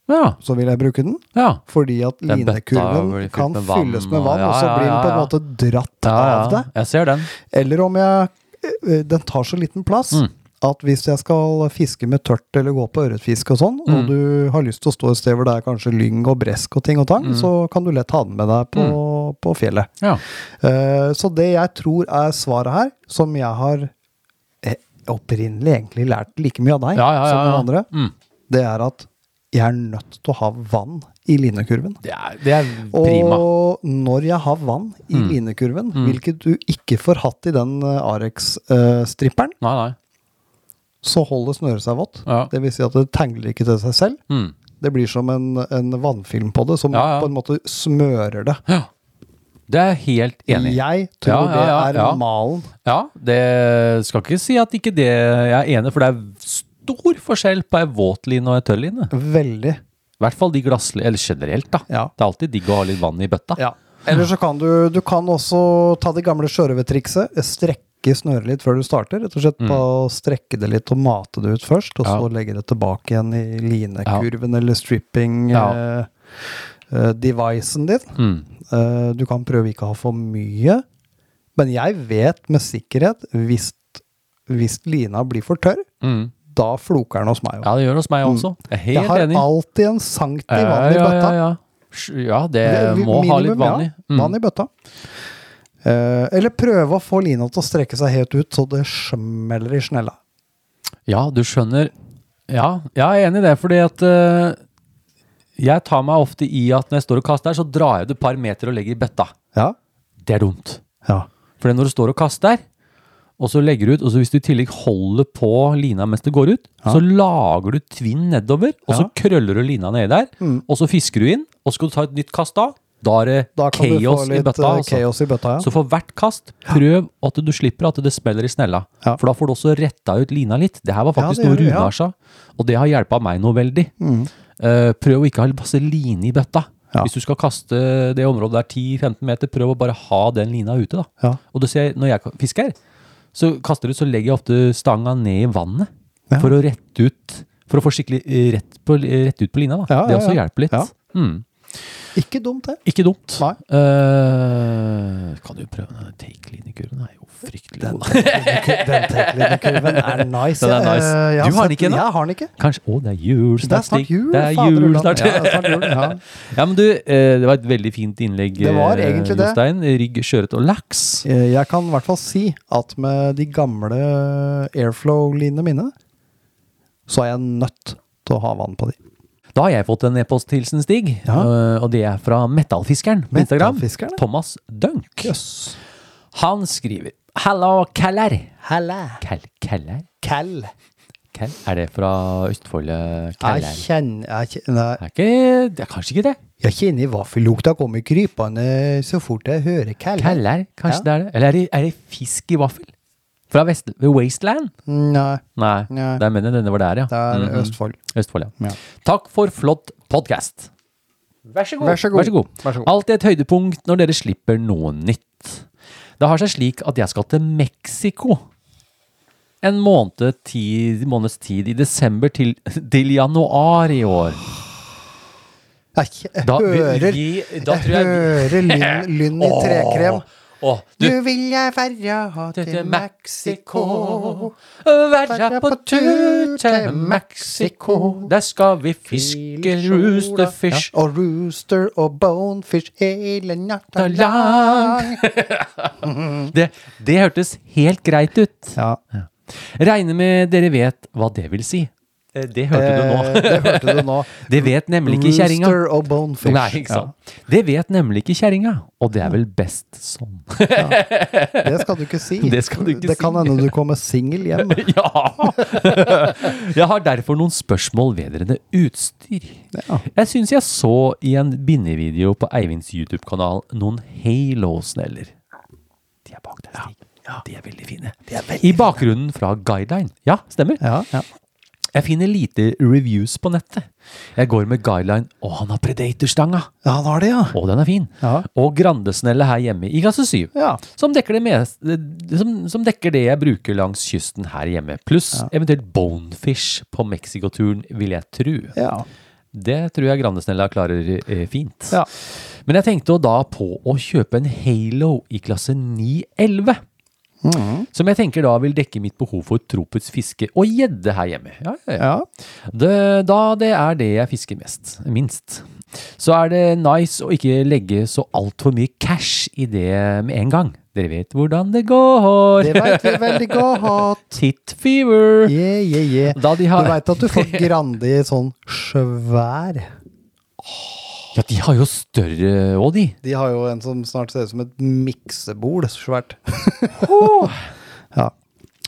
Ja. så vil jeg bruke den. ja. Fordi at Den bøtta linekurven blir fylt kan med vann, fylles med og- vann, ja, og så ja, blir den på en ja, måte dratt ja, av ja. deg. Jeg ser den. Eller om jeg eh, Den tar så liten plass Mm. at hvis jeg skal fiske med tørt eller gå på ørretfiske og sånn, Mm. og du har lyst til å stå et sted hvor det er kanskje lyng og bresk og ting og tang, så kan du lett ha den med deg på, på fjellet. Mm. Ja. Eh, så det jeg tror er svaret her, som jeg har eh, opprinnelig egentlig lært like mye av deg Ja, ja, ja, som ja. den andre, Mm. det er at jeg er nødt til å ha vann i linekurven. Det er, det er prima. Mm. Og når jeg har vann i linekurven, hvilket du ikke får hatt i den eh, Arex-stripperen, Nei, nei. så holder snøret seg vått. Ja. Det vil si at det tangler ikke til seg selv. Mm. Det blir som en, en vannfilm på det, som Ja, ja. på en måte smører det. Det er jeg helt enig i. Jeg Ja, tror ja, ja, det er ja. malen. Ja, det skal ikke si at ikke det jeg er enig, for det er stor forskjell på ei våt line og ei tørr line. Veldig. I hvert fall de glassline, eller generelt, da. Ja. Det er alltid digg å ha litt vann i bøtta. Ja. Eller så kan du, du kan også ta det gamle sjørøvertrikset. eh, Strekke snøret litt før du starter. Rett og slett på å strekke det litt og mate det ut først, og Mm. Ja. så legge det tilbake igjen i linekurven eller Ja. stripping-devicen din. Hmm. Eh, du kan prøve ikke å ha for mye, men jeg vet med sikkerhet hvis, hvis lina blir for tørr, Mm. da floker den hos meg òg. Ja, det gjør det hos meg også. Jeg er helt Hmm. jeg har enig. alltid en sankt i Ja, vann i ja, bøtta. Ja, ja. Sj- ja det, Det- Eh, må ha litt minimum, vann i. Mm. Ja, vann i bøtta. Eh, eller prøve å få lina til å strekke seg helt ut, så det smeller i snella. Hmm. Ja, du skjønner. Ja, jeg er enig i det, fordi at eh, jeg tar meg ofte i at når jeg står og kaster her, så drar jeg det et par meter og legger i bøtta. Ja. Det er dumt. ja. Fordi når du står og kaster, og så legger du ut, og så hvis du i tillegg holder på lina mens det går ut, så lager du tvinn nedover, og så krøller du lina nedi der, Mm. og så fisker du inn, og så skal du ta et nytt kast da, da er det Da kan du få chaos i litt bøtta. eh, altså. chaos i bøtta, ja. Så for hvert kast, prøv at du slipper at det smeller i snella. Ja. For da får du også retta ut lina litt. Det her var Ja, faktisk det gjør noe det, ja. Mm. Runar sa, og det har hjulpet meg noe veldig. Eh, prøv å ikke ha masse line i bøtta. Ja. Hvis du skal kaste det området der 10-15 meter, prøv å bare ha den lina ute, da. Ja. Og du ser, når jeg fisker, så kaster ut, så legger jeg ofte stanga ned i vannet Ja. for å rette ut For å få skikkelig eh, rett, på, rett ut på lina, da. Ja, det ja, også ja. hjelper litt. Ja. Mm. Ikke dumt, det. Ikke dumt. Nei. Eh, kan du prøve den take-linekurven? Den er jo fryktelig god. Den teknikurven er nice. Den er ja. nice. Eh, jeg har Du har den sett- ikke ennå? Jeg har den ikke. Kanskje Å, det er jul Det er snart. snart Stig. jul. Det er fader, jul Ulland. snart. Ja, det er snart jul. Ja. Ja, men du, eh, det var et veldig fint innlegg, Det var eh, egentlig det. Jostein. Rygg, sjøørret og laks. Eh, Jeg kan i hvert fall si at med de gamle eh, airflow-linene mine, så er jeg nødt til å ha vann på de. Da har jeg fått en e-posthilsen, Stig. Ja. eh, Og det er fra Metallfiskeren på Instagram. Metallfiskeren, ja. Thomas Dunk. Han skriver Halla, Keller. Helle. Kel, keller? Kell. Kel? Er det fra Østfoldet? Jeg Keller? kjenner, jeg kjenner nei. Er ikke, det er kanskje ikke det. Jeg kjenner vaffellukta kommer krypende så fort jeg hører kall. Keller, kanskje det er det. Eller er det, er det fisk i vaffel? Fra Vest ved Wasteland? Nei, Nei, Nei. det er mener jeg denne var der, ja. det er Mhm. Østfold. Østfold, ja. Ja. Takk for flott podkast. Vær så god. Vær så god. Vær så god. Alltid et høydepunkt når dere slipper noe nytt. Det har seg slik at jeg skal til Mexico en måned, ti, måneds tid i desember til, til januar i år. Jeg, jeg Da- vi- hører, vi- da tror jeg jeg vi- hører lynn, lynn i trekrem. Åh, Du du, vil jeg verja til til Mexico. Mexico. Verja på tur til Mexico. Der skal vi fiske rooster fish. Ja. Og rooster og bonefish hele natta lang. Lang. det, det hørtes helt greit ut. Ja, Regner med dere vet hva det vil si. Eh, Det hørte du eh, nå. det hørte du nå. Det vet nemlig ikke kjerringa. Rooster og bonefish. Nei, ikke sant. Det vet nemlig ikke kjerringa, og det er vel best sånn. Ja, det skal du ikke si. Det skal du ikke Det kan si. hende du kommer singel hjem. Ja! Jeg har derfor noen spørsmål vedrørende utstyr. Ja. Jeg syns jeg så i en bindevideo på Eivinds YouTube-kanal noen Halo-sneller. De er bak der, Stig. De er veldig fine. I bakgrunnen fra Guideline. Ja, stemmer. Ja, ja. Jeg finner lite reviews på nettet. Jeg går med Guideline, og han har Predator-stanga! Ja, han har det, ja. Og den er fin. Ja. Og Grandesnelle her hjemme i klasse 7. Ja. Som, dekker det mes- det- som, som dekker det jeg bruker langs kysten her hjemme. Pluss eventuelt bonefish på Mexico-turen, vil jeg tru. Ja. Det tror jeg Grandesnella klarer eh, fint. Ja. Men jeg tenkte jo da på å kjøpe en Halo i klasse 9-11. Mhm. Som jeg tenker da vil dekke mitt behov for tropisk fiske og gjedde her hjemme. Ja, ja, ja. ja. Det, da det er det jeg fisker mest, minst, så er det nice å ikke legge så altfor mye cash i det med en gang. Dere vet hvordan det går. Det veit vi veldig godt. Tit fever. Yeah, yeah, yeah. Da de har- Du veit at du får Grandi i sånn svær Ja, de har jo større òg, de. De har jo en som snart ser ut som et miksebol, så svært. ja.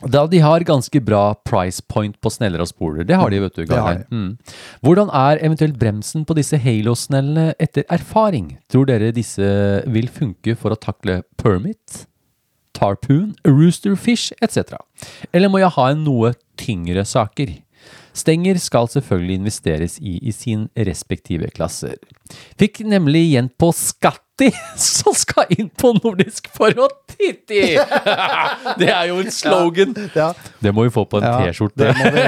Da de har ganske bra price point på sneller og spoler. Det har de, vet du. Det har Garstein. Mm. Hvordan er eventuelt bremsen på disse Halo-snellene etter erfaring? Tror dere disse vil funke for å takle permit, tarpoon, roosterfish etc.? Eller må jeg ha en noe tyngre saker? Stenger skal selvfølgelig investeres i i sin respektive klasser. Fikk nemlig igjen på Skatti, som skal inn på nordisk for å titte i! Det er jo en slogan. Ja, Det må vi få på en ja, T-skjorte. Det må vi,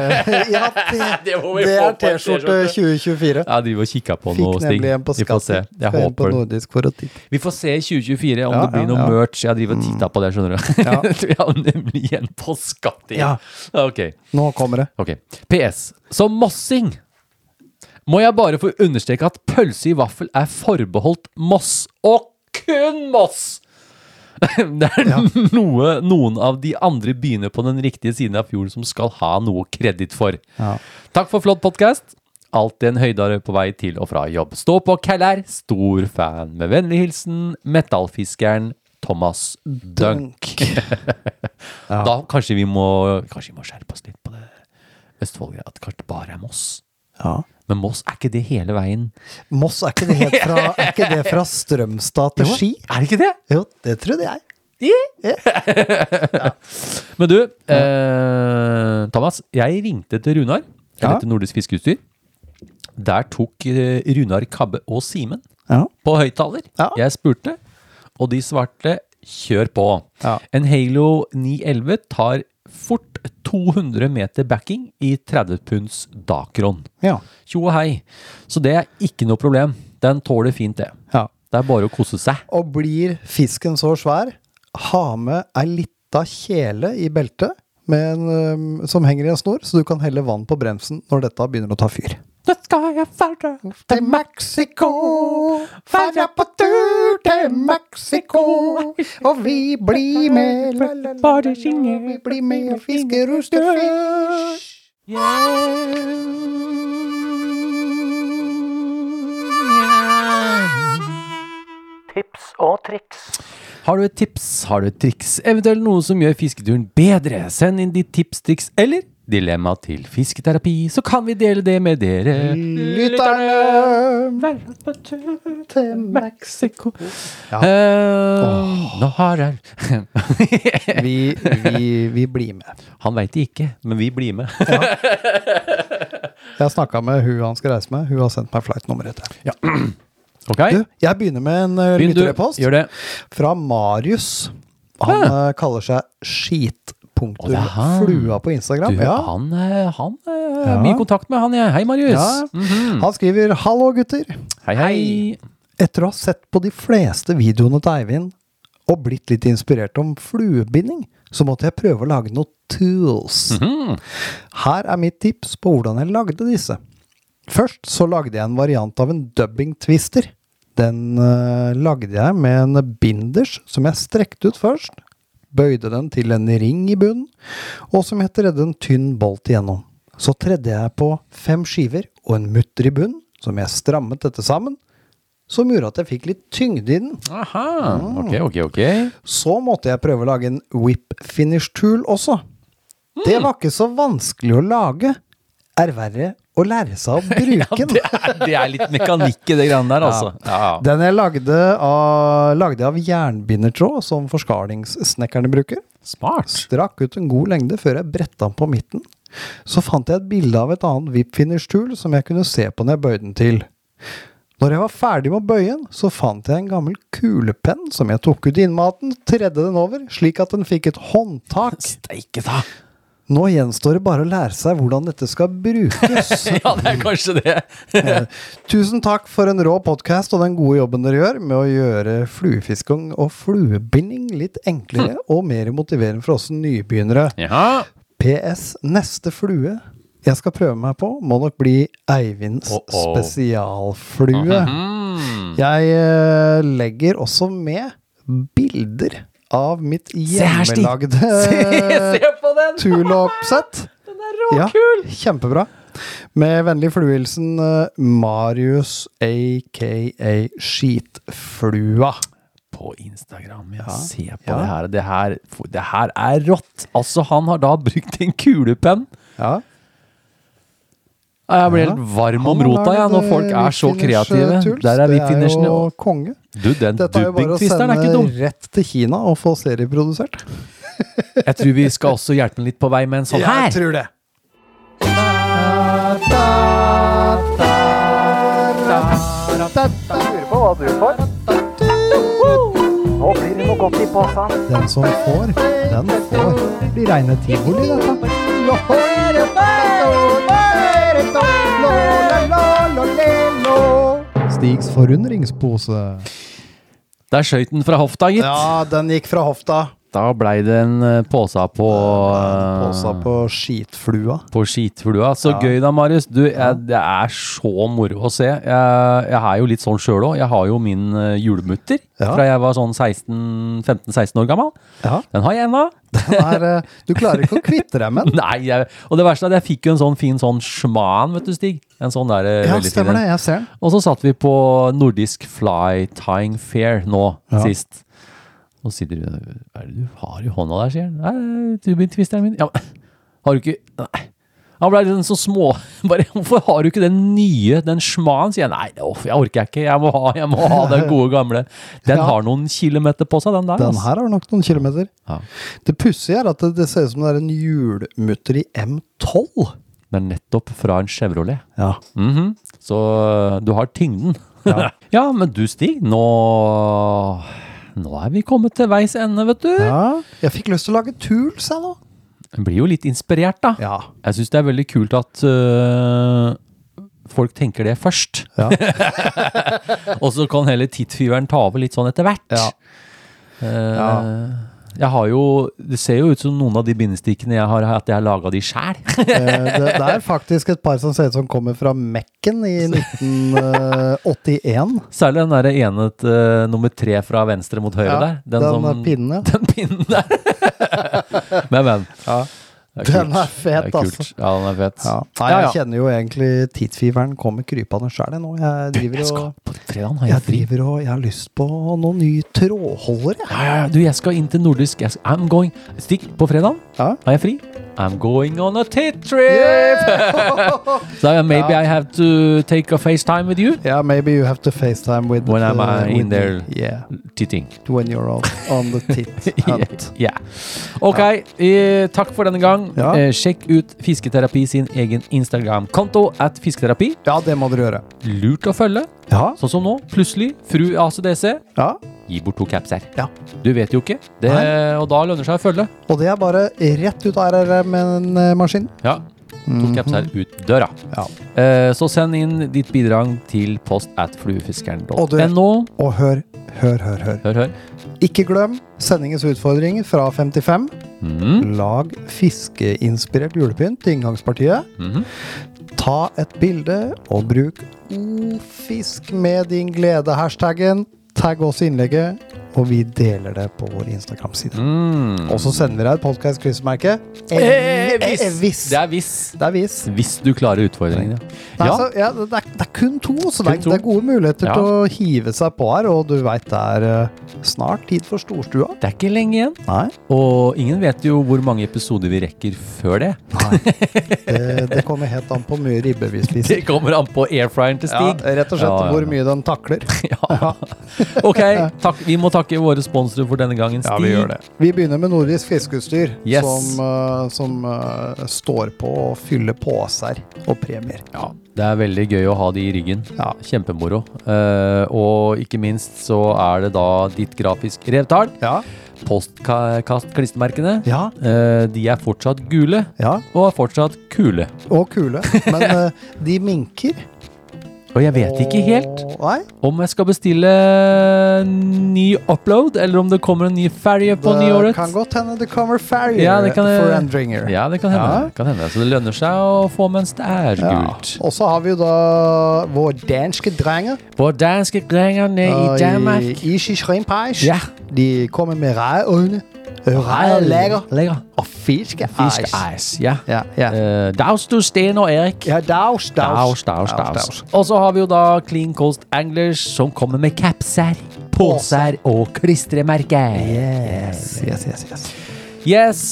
ja, det, Det må vi det få på er en T-skjorte 2024. Jeg driver og kikker på Fikk noe, Stig. nemlig en på Vi får se. skatten. Jeg Skal inn på håper den. nordisk for å titte. Vi får se i 2024 om Ja, det blir ja, noe ja. merch. Jeg driver og titter på det, skjønner du. Ja. Vi har nemlig igjen på skatting. Ja. Ok. Nå kommer det. Ok. PS. Som mossing må jeg bare få understreke at pølse i vaffel er forbeholdt Moss, og kun Moss! Det er noe noen av de andre byene på den riktige siden av fjorden som skal ha noe kreditt for. Ja. Takk for flott podkast. Alltid en høydare på vei til og fra jobb. Stå på, Kallær! Stor fan. Med vennlig hilsen metallfiskeren Thomas Dunk. Da kanskje vi må Kanskje vi må skjerpe oss litt på det Østfold-greia. At det kanskje bare er Moss. Ja. Men Moss er ikke det hele veien. Moss, er ikke det, helt fra, er ikke det fra Strømstad til Ski? Er det ikke det? Jo, det trodde jeg. Men du, eh, Thomas. Jeg ringte til Runar. Eller Ja. til Nordisk Fiskeutstyr. Der tok eh, Runar Kabbe og Simen Ja. på høyttaler. Ja. Jeg spurte, og de svarte 'kjør på'. Ja. En Halo 911 tar fort 200 meter backing i 30 punds dakron. Ja. Tjo og hei. Så det er ikke noe problem. Den tåler fint, det. ja. Det er bare å kose seg. Og blir fisken så svær, ha med ei lita kjele i beltet med en, øhm, som henger i en snor, så du kan helle vann på bremsen når dette begynner å ta fyr. Nå skal jeg ferde Til Mexico, ferda på tur til Mexico, og vi blir med, Bare synge. vi blir med og fisker og størfisk. Tips og triks. Har du et tips, har du et triks, eventuelt noe som gjør fisketuren bedre, send inn ditt tips, triks eller dilemma til fisketerapi, så kan vi dele det med dere. Lytterne til Mexico. Eh, Nå har jeg Vi, vi, vi blir med. Han veit det ikke, men vi blir med. Jeg snakka med hun han skal reise med. Hun har sendt meg flightnummeret. Ja. Ok? Du, jeg begynner med en uh, Begynn du. lytterpost Gjør det. fra Marius. Han eh, kaller Å, det seg er han. Skitpunktumflua på Du, Instagram. ja. han, eh, han eh, er Ja. mye kontakt med han, jeg. Hei, Marius. Ja. Mhm. Han skriver 'Hallo, gutter'. Hei, hei. Etter å ha sett på de fleste videoene til Eivind og blitt litt inspirert om fluebinding, så måtte jeg prøve å lage noen tools. Her er mitt tips på hvordan jeg lagde disse. Først så lagde jeg en variant av en dubbing twister. Den eh, lagde jeg med en binders som jeg strekte ut først, bøyde den til en ring i bunnen, og som jeg tredde en tynn bolt igjennom. Så tredde jeg på fem skiver og en mutter i bunnen, som jeg strammet dette sammen, som gjorde at jeg fikk litt tyngde i den. Aha. Mm. Ok, ok, ok. Så måtte jeg prøve å lage en whip finish tool også. Det var ikke så vanskelig å lage. Er verre å lære seg å bruke den. Det er, det er litt mekanikk i det greiene der, altså. Ja. Den jeg lagde av, lagde av jernbindertråd, som forskalingssnekkerne bruker. Smart. Strakk ut en god lengde før jeg bretta den på midten. Så fant jeg et bilde av et annet whip finish tool som jeg kunne se på når jeg bøyde den til. Når jeg var ferdig med å bøye den, så fant jeg en gammel kulepenn som jeg tok ut i innmaten, tredde den over, slik at den fikk et håndtak. Steike ta. Nå gjenstår det bare å lære seg hvordan dette skal brukes. Ja, det er kanskje det. Tusen takk for en rå podkast og den gode jobben dere gjør med å gjøre fluefisking og fluebinding litt enklere Hm. og mer motiverende for oss nybegynnere. Ja. PS. Neste flue jeg skal prøve meg på, må nok bli Eivinds Oh, oh. spesialflue. Mm. Jeg eh, legger også med bilder av mitt her, Stig. hjemmelagde Se på den! tulopsett. Den er Ja, råkul! kjempebra. Med vennlig fluehilsen eh, Marius aka Skitflua. På Instagram, ja. Ja. Se på Ja. det her. det her. for- Det her er rått! Altså, han har da brukt en kulepenn. Ja. Jeg blir Ja. helt varm om Han har rota, jeg, lagd, når folk eh, er så Whip Finish, eh, kreative. tuls. Der er Det er hvitfinishen. jo konge. Du, den Dette er jo bare å dubbingtvisteren er ikke dum. sende rett til Kina og få serieprodusert. Jeg tror vi skal også hjelpe ham litt på vei med en sånn Jeg her. tror det. Lurer på hva du får. Nå blir det noe godt i posen. Den som får, den får. Det blir reine tivoli, dette. Stigs forundringspose. Der skøyt den fra hofta, gitt. Ja, den gikk fra hofta. Da blei det en eh, påsa på eh, Posa på skitflua. på skitflua. Så gøy da, Marius. Du, jeg, det er så moro å se. Jeg, jeg er jo litt sånn sjøl òg. Jeg har jo min eh, julemutter Ja. fra jeg var sånn 16 15-16 år gammel. Ja. Den har jeg ennå. Den er, eh, du klarer ikke å kvitte deg med den. Nei, jeg, og det verste er at jeg fikk jo en sånn fin sånn sman, vet du, Stig. En sånn der, eh, Ja, veldig fin stemmer en. det. Jeg ser den. Og så satt vi på Nordisk Fly Tying Fair nå Ja. sist. Og sier du, hva er det du har i hånda der, sier han. Nei, turbintvisteren min. Ja, men, har du ikke, nei. Han ble liksom så små, bare, hvorfor har du ikke den nye, den smaen, sier jeg. Nei, det- uff, jeg orker jeg ikke, jeg må ha, jeg må ha den gode gamle. Den Ja. har noen kilometer på seg, den der. altså. Den ass. her har nok noen kilometer. Ja. Det pussige er at det, det ser ut som det er en hjulmutter i M12. Den er nettopp fra en Chevrolet. Ja. Mhm. Så eh, du har tyngden. Ja. men du Stig, nå, nå er vi kommet til veis ende, vet du. Jeg fikk lyst til å lage tools, jeg nå. Jeg blir jo litt inspirert, da. Ja. Jeg syns det er veldig kult at øh, folk tenker det først. Ja. Og så kan heller tittfyveren ta over litt sånn etter hvert. Ja. Eh, Jeg har jo Det ser jo ut som noen av de bindestikkene jeg har, at jeg har laga de sjæl. Eh, Det, det er faktisk et par som ser ut som kommer fra Mekken i 1981. Særlig den der ene eh, nummer tre fra venstre mot høyre Ja, der. den som- pinnen, ja. Den pinnen der. men, men. Det Den kult. er fet, Det kult. altså. Ja, den er fet. Ja. Nei, jeg kjenner jo egentlig tidsfiveren kommer krypende sjæl nå. Jeg driver Jeg og skal, på fredagen har jeg jeg fri. driver og jeg har lyst på noen nye trådholdere. jeg. Ja, ja, ja. Du, jeg skal inn til nordisk. Jeg skal, I'm going Stikk, på fredagen Ja. har jeg fri. I'm going on a tit trip! so maybe I have to take a FaceTime with you. Yeah, maybe you have to FaceTime with When am uh, I with in there? Yeah, Titting. when you're on, on the tit hunt. Ja. Ok, eh, takk for denne gang. Ja. Eh, sjekk ut Fisketerapi sin egen Instagram-konto at fisketerapi. Ja, det må dere gjøre. Lurt å følge, Ja, sånn som nå. Plutselig, fru ACDC, ja. gi bort to caps her. Ja. Du vet jo ikke, det, og da lønner det seg å følge. Og det er bare rett ut av RRM-maskinen. Ja, to caps Mm-hmm. her ut døra. Mhm. Ja. Eh, så send inn ditt bidrag til post at fluefiskeren.no. Og du- Og hør, hør, hør, hør. Hør, hør. Ikke glem sendingens utfordring fra 55. Mm, Lag fiskeinspirert julepynt til inngangspartiet. mhm. Ta et bilde og bruk ofisk med din glede-hashtaggen. Tagg oss i innlegget, og vi deler det på vår Instagram-side. mm. Og så sender vi deg et podkast-kryssmerke. Eh, hvis. hvis. Det er hvis. Det er hvis. Hvis du klarer utfordringen, Nei, ja. så, ja, det, er, det er kun to, så det Kun er, to. det er gode muligheter Ja. til å hive seg på her. Og du veit det er eh, snart tid for storstua. Det er ikke lenge igjen. Nei, Og ingen vet jo hvor mange episoder vi rekker før det. det, det kommer helt an på hvor mye ribbe vi Det spiser. kommer an på airfryeren til Ja, Stig. rett og slett Ja, ja, hvor mye den takler. Ja. Ok, takk. vi må takke våre sponsorer for denne gangen, Stig. Vi begynner med nordisk fiskeutstyr, Yes. som, eh, som eh, står på å fylle poser og premier. Ja, det er veldig gøy å ha de i ryggen. Ja. Kjempemoro. Eh, og ikke minst så er det da ditt grafisk revtall. Ja. Postkast-klistremerkene. ja. Eh, de er fortsatt gule, ja. og er fortsatt kule. Og kule. Men eh, de minker. Og jeg vet ikke helt Og- Nei. om jeg skal bestille ny upload, eller om det kommer en ny ferje på Det nyåret. kan godt hende det kommer ferrier Ja, det kan- for Andringer. Ja, det kan hende. Ja. Det kan hende. Så det lønner seg å få mens det er gult. Og så har vi jo da vår danske drenger Vår danske drenger ned i eh, Danmark. i Ishi Shrimpeis. Ja. De kommer med reøyne Rørlegger Lækker. og fiskeeis. Fiskeeis. Ja. Ja, ja. Eh, daus, du, Sten og Erik. Ja, daus, Daus, daus. daus, daus. Og så har vi jo da Clean Coast Anglers som kommer med capser, poser og klistremerker. Yes, yes, yes, yes. Yes!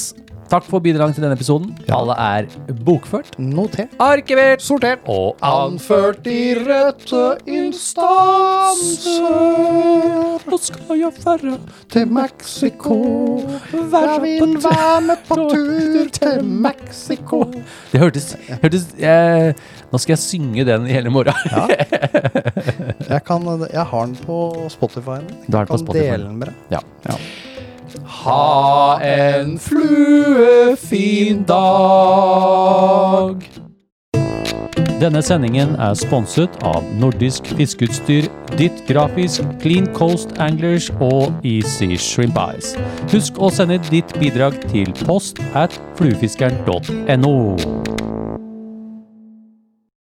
Takk for bidrag til denne episoden. Alle er bokført, Noter. arkivert Sorter. og Anført i rette instanser Nå skal jeg færre til Mexico. Vær Jeg vil på tur. være med på tur til Mexico. Det hørtes, hørtes eh, Nå skal jeg synge den i hele morgen. Jeg, kan, jeg har den på Spotify. nå. Du har den på kan Spotify. dele den med deg. Ja. Ja. Ha en fluefin dag. Denne sendingen er sponset av Nordisk fiskeutstyr, Ditt Grafisk, Clean Coast Anglers og Easy Shrimp Eyes. Husk å sende ditt bidrag til post at fluefiskeren.no.